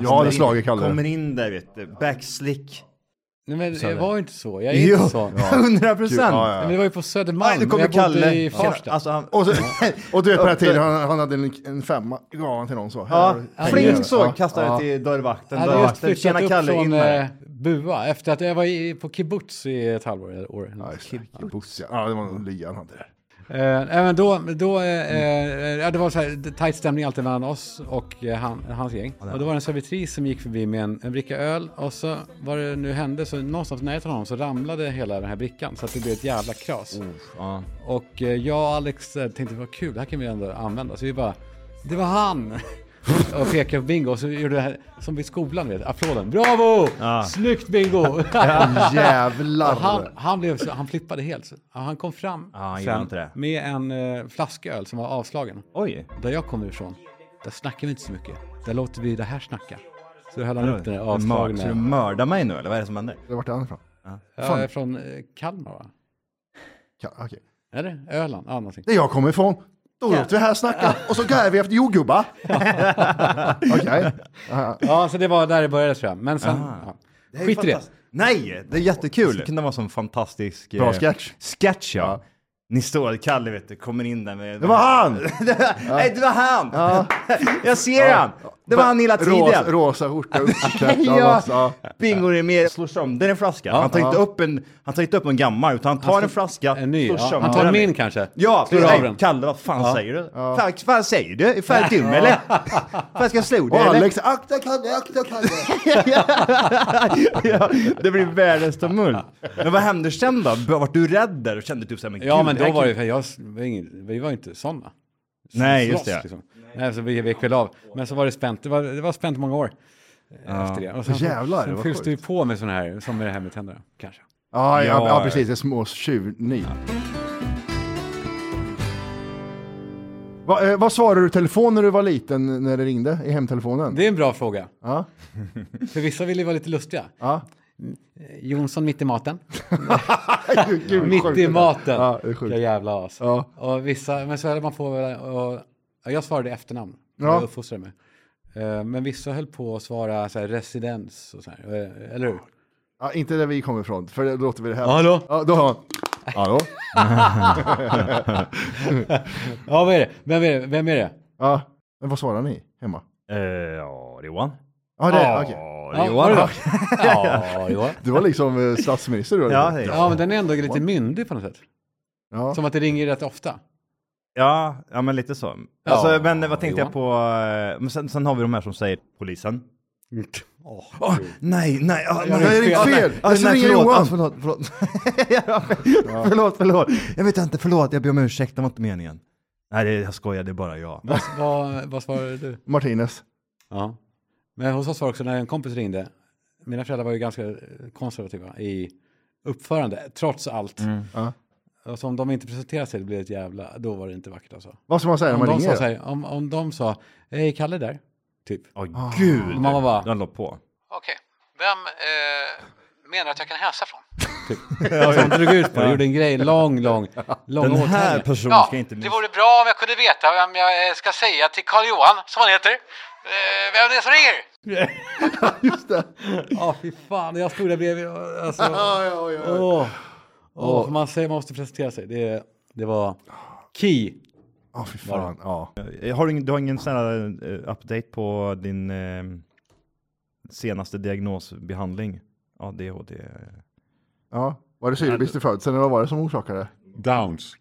Jag hade slagit Kommer Kalle. in där vet du, backslick. Nej men jag Söder. var ju inte så. Jag är inte <laughs> så. 100 Gud, procent! ja, ja. Nej, men det var ju på Södermalm. Nej, nu kommer jag bodde Kalle. i Farsta. Alltså, han, Och, så, <laughs> och du vet på den här tiden, han, han hade en, en femma i gavan till någon så. Här har ja, du pengar. fling så, kastade det till dörrvakten. jag hade just Dörrvakten, flyttat tjena upp Kalle, in från med eh, Bua efter att jag var i, på kibbutz i ett halvår. Eller år. Ja, just det. Ja, buss, ja. ja, det var nog lyan han hade där. Eh, även då, då eh, eh, ja, det var så här tajt stämning alltid mellan oss och eh, han, hans gäng. Och då var det en servitris som gick förbi med en, en bricka öl och så vad det nu hände så någonstans nära till honom så ramlade hela den här brickan så att det blev ett jävla kras. Och eh, jag och Alex eh, tänkte vad kul, det här kan vi ändå använda. Så vi bara, det var <laughs> han! och pekade på bingo och så gjorde det här som vid skolan, vet, applåden. Bravo! Snyggt <laughs> bingo! Jävlar. Och han, han, blev så, han flippade helt. Så Han kom fram Ja, han gillar sen inte det. med en eh, flasköl som var avslagen. Oj! Där jag kommer ifrån, där snackar vi inte så mycket. Där låter vi det här snacka. Så höll han upp den där Mörd, så du avslagna. mördar mig nu eller vad är det som händer? Det vart det han ifrån? Jag är från eh, Kalmar va? Ka- okej. Eller Öland? Ja, någonting. Där jag kommer ifrån, då låter vi här snacka och så gräver vi <laughs> efter jordgubbar. Okej. Ja, Ja, så det var där det började tror jag. Men sen, ja. är skit i det. fantastiskt. Nej, det är jättekul. Det kunde vara som fantastisk... Bra eh, sketch. Sketch ja. Ni står, Kalle vet du, kommer in där med... Det <laughs> var han! Nej, det var han! <laughs> Jag ser han! Det var han hela tiden! Rosa, rosa skjorta, <laughs> uppklätt. ja. ja. Bingo är med, slår sönder en flaska. han tar inte upp en, han tar inte upp en gammal, utan han tar en flaska, En ny. slår Ja. sönder Han tar den. min kanske. Ja, Slår nej, av den. Kalle, vad fan säger du? Fan, fan säger du? Är fan dum eller? Fan ska jag slå dig Och eller? Alex, akta Kalle, akta Kalle. <laughs> ja, det blir världens tumult. Men vad hände sen då? Vart du rädd där och kände typ såhär, men Ja, gud, men här då var kan- det för jag, var ingen, vi var inte sådana. Nej, slåss, just det. Liksom. Nej, så vi vek väl av. Men så var det spänt. Det var, det var spänt många år eh, efter det. Och sen, Jävlar, sen vad fylls sjukt. det ju på med sådana här, som med det här med tänderna, kanske. Ja, ja, Ja. ja, precis. Det är små tjuvnyp. Va, eh, vad svarade du i telefon när du var liten, när det ringde i hemtelefonen? Det är en bra fråga. Ja. <laughs> För vissa vill ju vara lite lustiga. Ja. Jonsson mitt i maten. Gud, gud, sjukt mitt det i där. maten. Ja, det är Vilka sjukt. jävla as. Ja. Och vissa, men så höll man på väl- och, och Jag svarade i efternamn. Ja. Jag uppfostrade mig. Eh, Men vissa höll på att svara så här, residens och så här. eh, Eller hur? Ja, inte där vi kommer ifrån, för det låter vi det här. Hallå? Ja, då har man. Hallå? Ja, vad är det? Vem är det? Vem är det? Ja. Men vad svarar ni hemma? Eh, Ja, Johan. Ja, det, okej. Ja, Ja, Johan. var det då? <laughs> Ja, Johan. Du var liksom eh, statsminister du. eller? Ja, hej. Ja, men den är ändå lite myndig på något sätt. ja. Som att det ringer rätt ofta. Ja, ja men lite så. Ja, Alltså, men vad tänkte Johan. jag på? eh, Men sen, sen har vi de här som säger polisen. Mm. Åh, nej, nej. ah, Jag nej, har ringt fel. Ah, Jag ska nej, ringa förlåt, ah, förlåt, Johan. förlåt. Ja, förlåt, förlåt. Jag vet inte, förlåt. Jag ber om ursäkt, det var inte meningen. Nej, det, jag skojar, det är bara jag. Vad, vad, vad svarade du? Martinez. Ja. Men hos oss var det också när en kompis ringde. Mina föräldrar var ju ganska eh, konservativa i uppförande, trots allt. Ja. Och så om de inte presenterade sig, det blev ett jävla... Då var det inte vackert alltså. Vad ska man säga när Om man de, sa ringer? så här, om, om de sa, hej, Kalle där? Typ. Åh gud. Mamma bara, Den låg på. Okej, vem eh, menar att jag kan hälsa <laughs> från? Typ. Som drog ut på det, gjorde en grej, lång, lång, lång Den här åthälle. personen ja, ska inte Det miss- vore bra om jag kunde veta vem jag eh, ska säga till Karl Johan, som han heter. Eh, vem det är som ringer? Just det. Ja, fy fan, jag stod där bredvid. och- <laughs> Alltså, Ja, ja, ja. åh, åh, för man säger man måste presentera sig. Det, det var key. Ja, fy fan. Ja. Eh, Har du, ingen, du har ingen sån här eh, update på din eh, senaste diagnosbehandling? ADHD? ja. Var det syrebrist i födseln eller vad var det som orsakade det? Typ. Downs.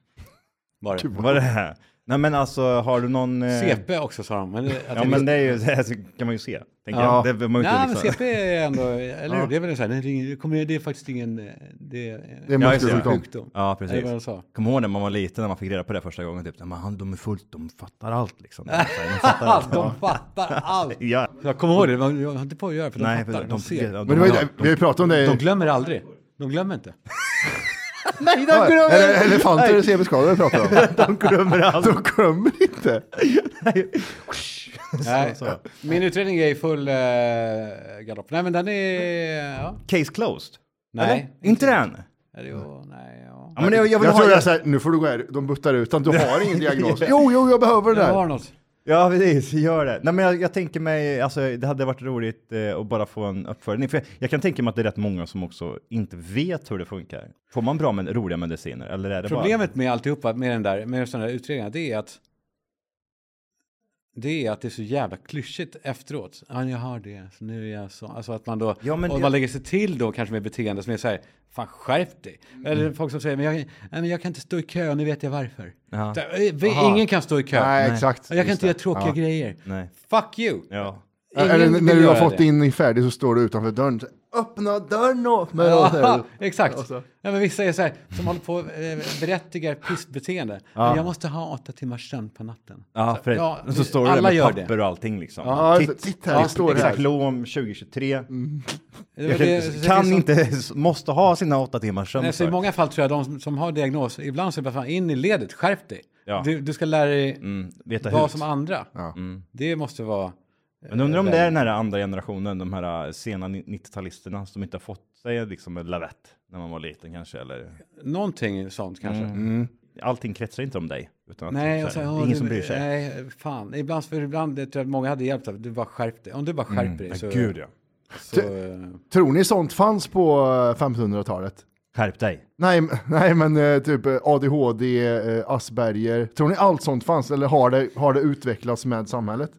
Var det. Vad är det här? Nej men alltså har du någon... eh, CP också sa de. Men, att Ja men det, är ju, det här kan man ju se. Tänker Ja. jag. Det behöver man ju inte Nej, men liksom. CP är ändå, eller hur? Det är väl så här, det är, kommer, det är faktiskt ingen, eh, det är, Det är Ja, just det. muskelsjukdom. sjukdom. Ja Är det vad de precis. sa? Kommer ihåg när man var liten när man fick reda på det första gången typ. Men han, de är fullt, de fattar allt liksom. <laughs> De fattar allt. de fattar allt! Ja. Jag kommer ihåg det, man- jag har inte på att göra för de Nej, fattar, de, de, ser. de, <laughs> Men det var ju, det- vi har ju pratat om det. De glömmer aldrig. De glömmer inte. nej, de Ja, glömmer, Ele elefanter är CB-skadade pratar om. <laughs> de glömmer allt. De glömmer inte. Nej. Min utredning är i full eh, galopp. Nej, men den är... Ja. Case closed. Nej. Eller? Inte den? Är det, ja, nej, ja. Ja, men jag, jag Jag, vill tror det är ha... så här, nu får du gå här. De buttar ut den. Du har ingen <laughs> diagnos. Jo, jo, jag behöver det Jag har där. något. Ja precis, gör det. Nej men jag, jag tänker mig, alltså det hade varit roligt eh, att bara få en uppföljning. För jag, jag kan tänka mig att det är rätt många som också inte vet hur det funkar. Får man bra med roliga mediciner eller är det Problemet med alltihopa, med den där, med sådana där utredningar, det är att det är att det är så jävla klyschigt efteråt. Ja, jag har det, så nu är jag så. Alltså att man då, Ja, men och jag- man lägger sig till då kanske med beteende som är så här, fan skärp dig. Mm. Eller folk som säger, men jag, nej, men jag kan inte stå i kö, nu vet jag varför. Ja. Så här, "Eh, vi, ingen kan stå i kö. Nej, exakt. Jag kan Just inte det. göra tråkiga grejer. Nej. Fuck you! bara... Ja. Ingen Eller vill när du har göra fått det. in i färdig så står du utanför dörren. Så, Öppna dörren åt mig. Och så här. Ja, <laughs> exakt. Ja, men vissa är så här, som håller på och eh, berättigar pissbeteende. Men Jag måste ha åtta timmars sömn på natten. Ja, för ja, så står det alla där med gör papper och allting liksom. Ja, titt, titt här, jag står Exakt, här. Mm. Lom 2023. Det, Jag det, kan, det, kan det, inte, måste ha sina åtta timmars sömn. Nej, så I för. många fall tror jag de som, som har diagnos, ibland så är det bara fan, in i ledet, skärp dig. Ja. Du, du ska lära dig Mm, veta vara hut. som andra. Mm. Det måste vara... Men undrar om det är den här andra generationen, de här eh, sena 90-talisterna som inte har fått sig liksom en lavett när man var liten kanske. Eller... Någonting sånt kanske. Allting kretsar inte om dig. Utan att Nej, typ och Mm. så här, så, ja, det är ingen du- som bryr sig. Nej, fan. Ibland, för ibland det tror jag att många hade hjälpt av. Du bara skärp dig. Om du bara skärper dig så... Mm. Gud ja. så eh, Tror ni sånt fanns på eh, 1500-talet? Skärp dig. Nej, m- nej, men <laughs> eh, typ eh, ADHD, eh, Asperger. Tror ni allt sånt fanns eller har det, har det utvecklats med <clears throat> samhället?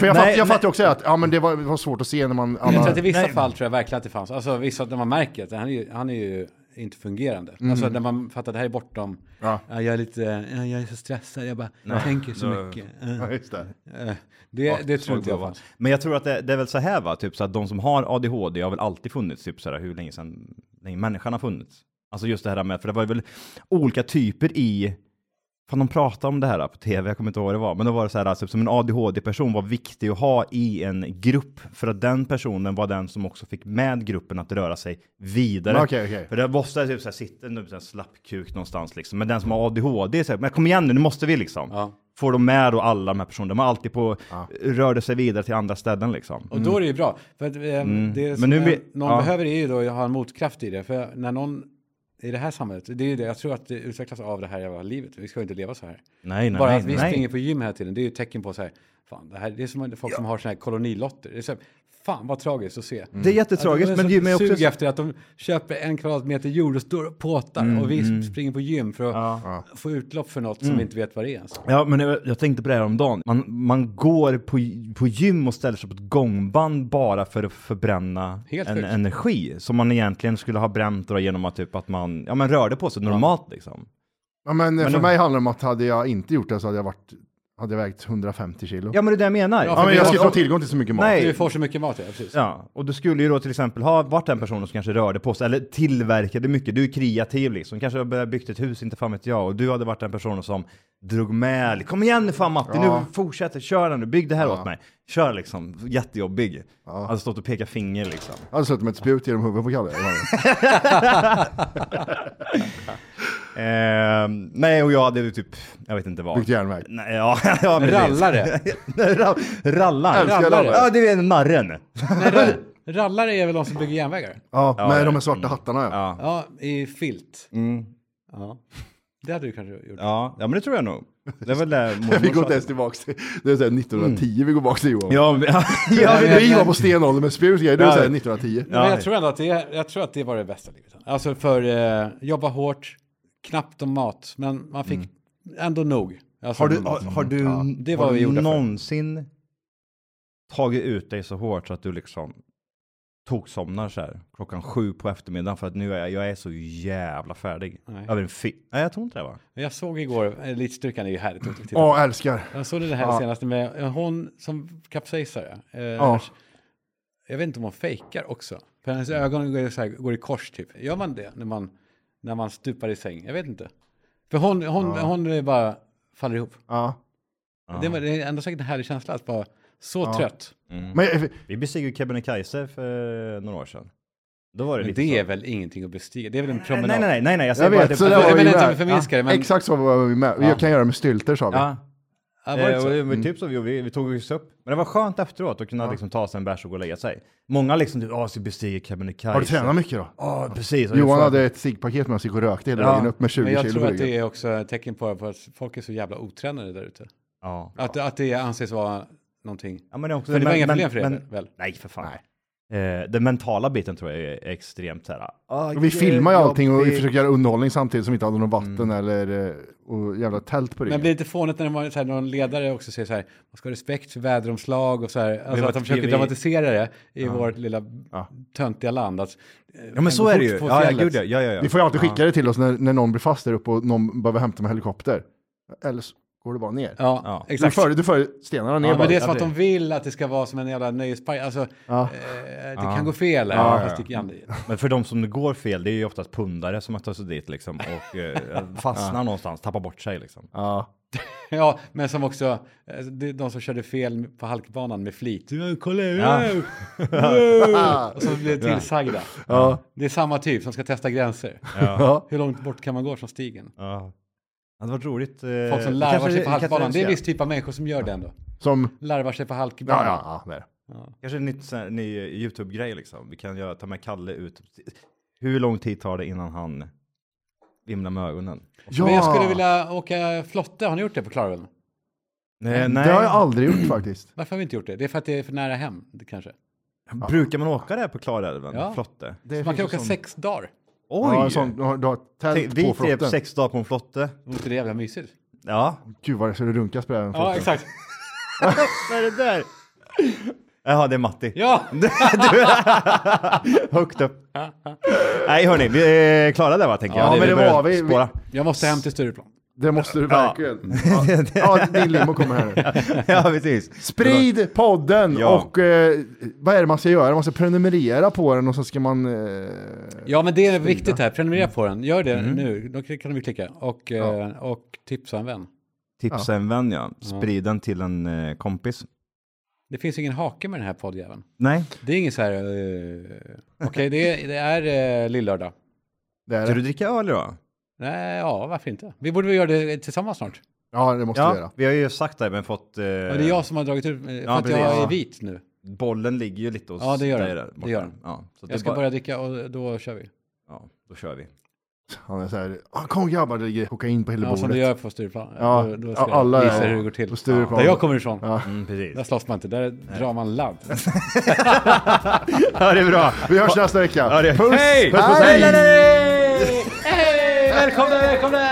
För jag, fatt, nej. jag fattar också att ja, men det, var, det var svårt att se när man... Jag tror Alla, att i vissa fall tror jag verkligen att det fanns. Alltså vissa, när man märker att han är ju, han är ju inte fungerande. Mm. Alltså när man fattar att det här är bortom. Ja. jag är lite, ja, jag är så stressad, jag bara tänker så mycket. Eh, <laughs> ja, just det. eh. Det, det tror inte jag var. fanns. Men jag tror att det, det är väl så här va, typ så att de som har ADHD har väl alltid funnits, typ så här hur länge sedan länge människan har funnits. Alltså just det här med, för det var väl olika typer i, fan de pratade om det här på tv, jag kommer inte ihåg vad det var, men då var det så här, alltså, som en ADHD-person var viktig att ha i en grupp, för att den personen var den som också fick med gruppen att röra sig vidare. Okej, okej. För det måste typ så här, sitta en typ så här slappkuk någonstans liksom, men den som har ADHD är så här, men kom igen nu, nu måste vi liksom. Ja. Får de med då alla de här personerna? De har alltid på, rörde sig vidare till andra ställen liksom. Och då är det ju bra. För att, eh, det som Mm. Men nu en- blir- någon ja. behöver är ju då att ha en motkraft i det. För när någon i det här samhället, det är ju det, jag tror att det utvecklas av det här jävla livet. Vi ska ju inte leva så här. Nej, nej, Bara nej, att vi nej. springer på gym hela tiden, det är ju ett tecken på så här, fan, det här det är som folk som har såna här kolonilotter. Det är så här, fan vad tragiskt att se. Det är jättetragiskt, Att de men gym är så också... sug efter att de köper en kvadratmeter jord och står och påtar Mm, och vi springer på gym för att få utlopp för något som vi inte vet vad det är. ens. Ja, men jag, jag tänkte på det här om dagen. Man, man går på, på gym och ställer sig på ett gångband bara för att förbränna Helt en, sjukt. energi som man egentligen skulle ha bränt då genom att, typ, att man ja, men rörde på sig normalt liksom. Ja, men, eh, för Men- mig handlar det om att hade jag inte gjort det så hade jag, varit, hade jag vägt 150 kilo. Ja, Ja, men det är det jag menar. Ja, för men vi jag har- ska inte ha tillgång till så mycket mat. Nej. Vi får så mycket mat, <laughs> ja, Typ. precis. Ja, och du skulle ju då till exempel ha varit den personen som kanske rörde på sig, eller tillverkade mycket. Du är kreativ liksom, kanske har börjat byggt ett hus, inte fan vet jag. Och du hade varit den personen som drog med, liksom, kom igen nu fan Matti, Ja. nu fortsätter, kör den nu, bygg det här åt mig. Kör liksom, jättejobbig. Hade stått och pekat finger <laughs> liksom. <laughs> Jag hade slutat med ett spjut genom huvudet på <laughs> Kalle. Ehm, nej, och jag hade ju typ, jag vet inte vad. Byggt järnväg. Nej, ja, <laughs> ja, precis. <laughs> Rallare. Ra- Rallar. Älskar rallare. Ja, det är en narren. Rallare är väl de som bygger järnvägar? Ja, med det- de här svarta hattarna <laughs> ja. Ja, i filt. Ja. Det hade du kanske gjort. Mm. Ja, ja, men det tror jag nog. Det är väl det Vi mormor går sa. inte ens tillbaka till, det är så här 1910 vi går bak till Johan. Ja, men- ja, Mm. Ja, men- vi var på stenåldern med spjut och grejer, det är så här 1910. Men jag tror ändå att det, jag tror att det var det bästa livet. Alltså för eh, jobba hårt, knappt om mat, men man fick ändå nog. Alltså, Mm. Har du, med har, mat. har du, det var har vi du gjorda för. någonsin tagit ut dig så hårt så att du liksom toksomnar så här klockan sju på eftermiddagen för att nu är jag, jag är så jävla färdig. Nej. Över en fi- Nej, jag tror inte det va? Jag såg igår, Elitstyrkan är ju härligt roligt att titta på. Ja, älskar. Jag såg det här senaste med hon som kapsejsar. ja. Eh, Ja. Jag vet inte om hon fejkar också. För hennes Mm. ögon går, så här, går i kors typ. Gör man det när man, när man stupar i säng? Jag vet inte. För hon, hon, hon är bara faller ihop. Ja. Det, var, det är ändå säkert en härlig känsla att vara så trött. Men eh, Vi besegrade Kebnekaise för några år sedan. Då var det Men lite det så. är väl ingenting att bestiga? Det är väl en Nej, promenad? nej, nej, nej, nej, jag jag säger bara att det vet, så det där var var jag vi vill inte med. förminska det, men- Exakt så var vi med. Jag kan göra med stylter sa vi. Ja. Ja, var det Eh, så? Mm. och det, men typ så vi, gjorde. vi, vi tog oss upp. Men det var skönt efteråt att kunna liksom ta sig en bärs och gå och lägga sig. Många liksom, du, ja, så bestiger Kebnekaise. Har du tränat mycket då? Ja, precis. Och jag Johan får- hade ett ciggpaket med sig och rökte hela Ja, vägen upp med 20 Men jag kilo tror på att det ryggen. är också ett tecken på på att folk är så jävla otränade där ute. Ja. Att, att det anses vara någonting. ja men det, är också, Men det var men- inga men- problem för er men- väl? Nej, för fan. Eh, den mentala biten tror jag är extremt så här. ah, Vi filmar ju allting och vi jobbigt. försöker göra underhållning samtidigt som vi inte hade någon vatten eller eh, och jävla tält på Mm. Men ryggen. blir det inte fånigt när det var så här, någon ledare också säger så här, man ska ha respekt för väderomslag och så här, alltså var att de ett försöker TV. dramatisera det i vårt lilla töntiga land. Att, eh, Ja, men så är det ju. Ja, ja, gud ja. ja, ja, Vi ja. får ju alltid skicka det till oss när, när någon blir fast där uppe och någon behöver hämta med helikopter. Eller så går det bara ner. Ja, Ja. exakt. Du för, du för stenarna ner Ja, bara. men det är som att de vill att det ska vara som en jävla nöjespark. Alltså, eh, det kan gå fel. här, Ja, ja, fast det kan det. Men för de som det går fel, det är ju oftast pundare som har tagit sig dit liksom och <laughs> eh, fastnar någonstans, tappar bort sig liksom. Ja. Ja, men som också, eh, det är de som körde fel på halkbanan med flit. Du, Kolla, wow, wow. Och så blir det tillsagda. Det är samma typ som ska testa gränser. <laughs> Ja. Hur långt bort kan man gå från stigen? Ja. Det hade varit roligt. eh, Folk som det larvar kanske- sig på halkbanan. kanske Det är en viss typ av människor som gör det ändå. Som, Larvar sig på halkbanan. ja, ja, ja, där. Kanske en nytt, sån här, ny eh, YouTube-grej liksom. Vi kan göra, ta med Kalle ut. Hur lång tid tar det innan han vimlar med ögonen? Ja, Men jag skulle vilja åka flotte. Har ni gjort det på Klarälven? Eh, Nej, Det har jag aldrig gjort faktiskt. Varför har vi inte gjort det? Det är för att det är för nära hem, det kanske. Brukar man åka där på Klarälven? Ja. Flotte? Det Så man kan finns åka ju sån- sex dagar. Oj! Ja, en sån, du, har, du har ett tält Tänk, vi på tre på flotten. sex dagar på en flotte. Vore inte det jävla mysigt? <laughs> Ja. Gud vad det skulle runkas på den Ja, flotten. exakt. Vad är det där? Jaha, det är Matti. <laughs> <laughs> Ja! Högt upp. Nej, hörni, vi är klara där va, tänker jag. Ja, men det börjar var vi- vi- spåra. Jag måste hem till Stureplan. Det måste du verkligen. Ja, ja din limo kommer här nu. <laughs> ja, precis. Sprid podden Ja. och eh, vad är det man ska göra? Man ska prenumerera på den och sen ska man... Eh, Ja, men det är viktigt här. Prenumerera på den. Gör det nu. Då kan vi klicka. Och, eh, och tipsa en vän. Tipsa en vän, ja. Sprid den till en eh, kompis. Det finns ingen hake med den här poddjäveln. Nej, Det är ingen så här... eh, Okej, det är, det är eh, lillördag. det är ska det. du dricka öl idag? Nej, ja, varför inte? Vi borde väl göra det tillsammans snart. Ja, det måste du göra. Ja, vi har ju sagt det, men fått... Eh, Och det är jag som har dragit ut, eh, för att precis. jag är Ja. vit nu. Bollen ligger ju lite hos Ja, det gör dig den. där borta. Det gör den. Ja, så det är Jag ska bara- börja dricka och då kör vi. Ja, då kör vi. Han är så här, "Ah, kom grabbar, det ligger kokain på hela Ja, som bordet. du gör på Stureplan. Ja, då, då ja, ska alla jag visa är- hur det går till. på Stureplan. Där jag kommer ifrån. Mm, precis. Där slåss man inte, där drar man ladd. Ja, det är bra. Vi hörs nästa vecka. Ja, det är... Puss! Hej! Puss, puss, hej! Hej! Välkomna, välkomna!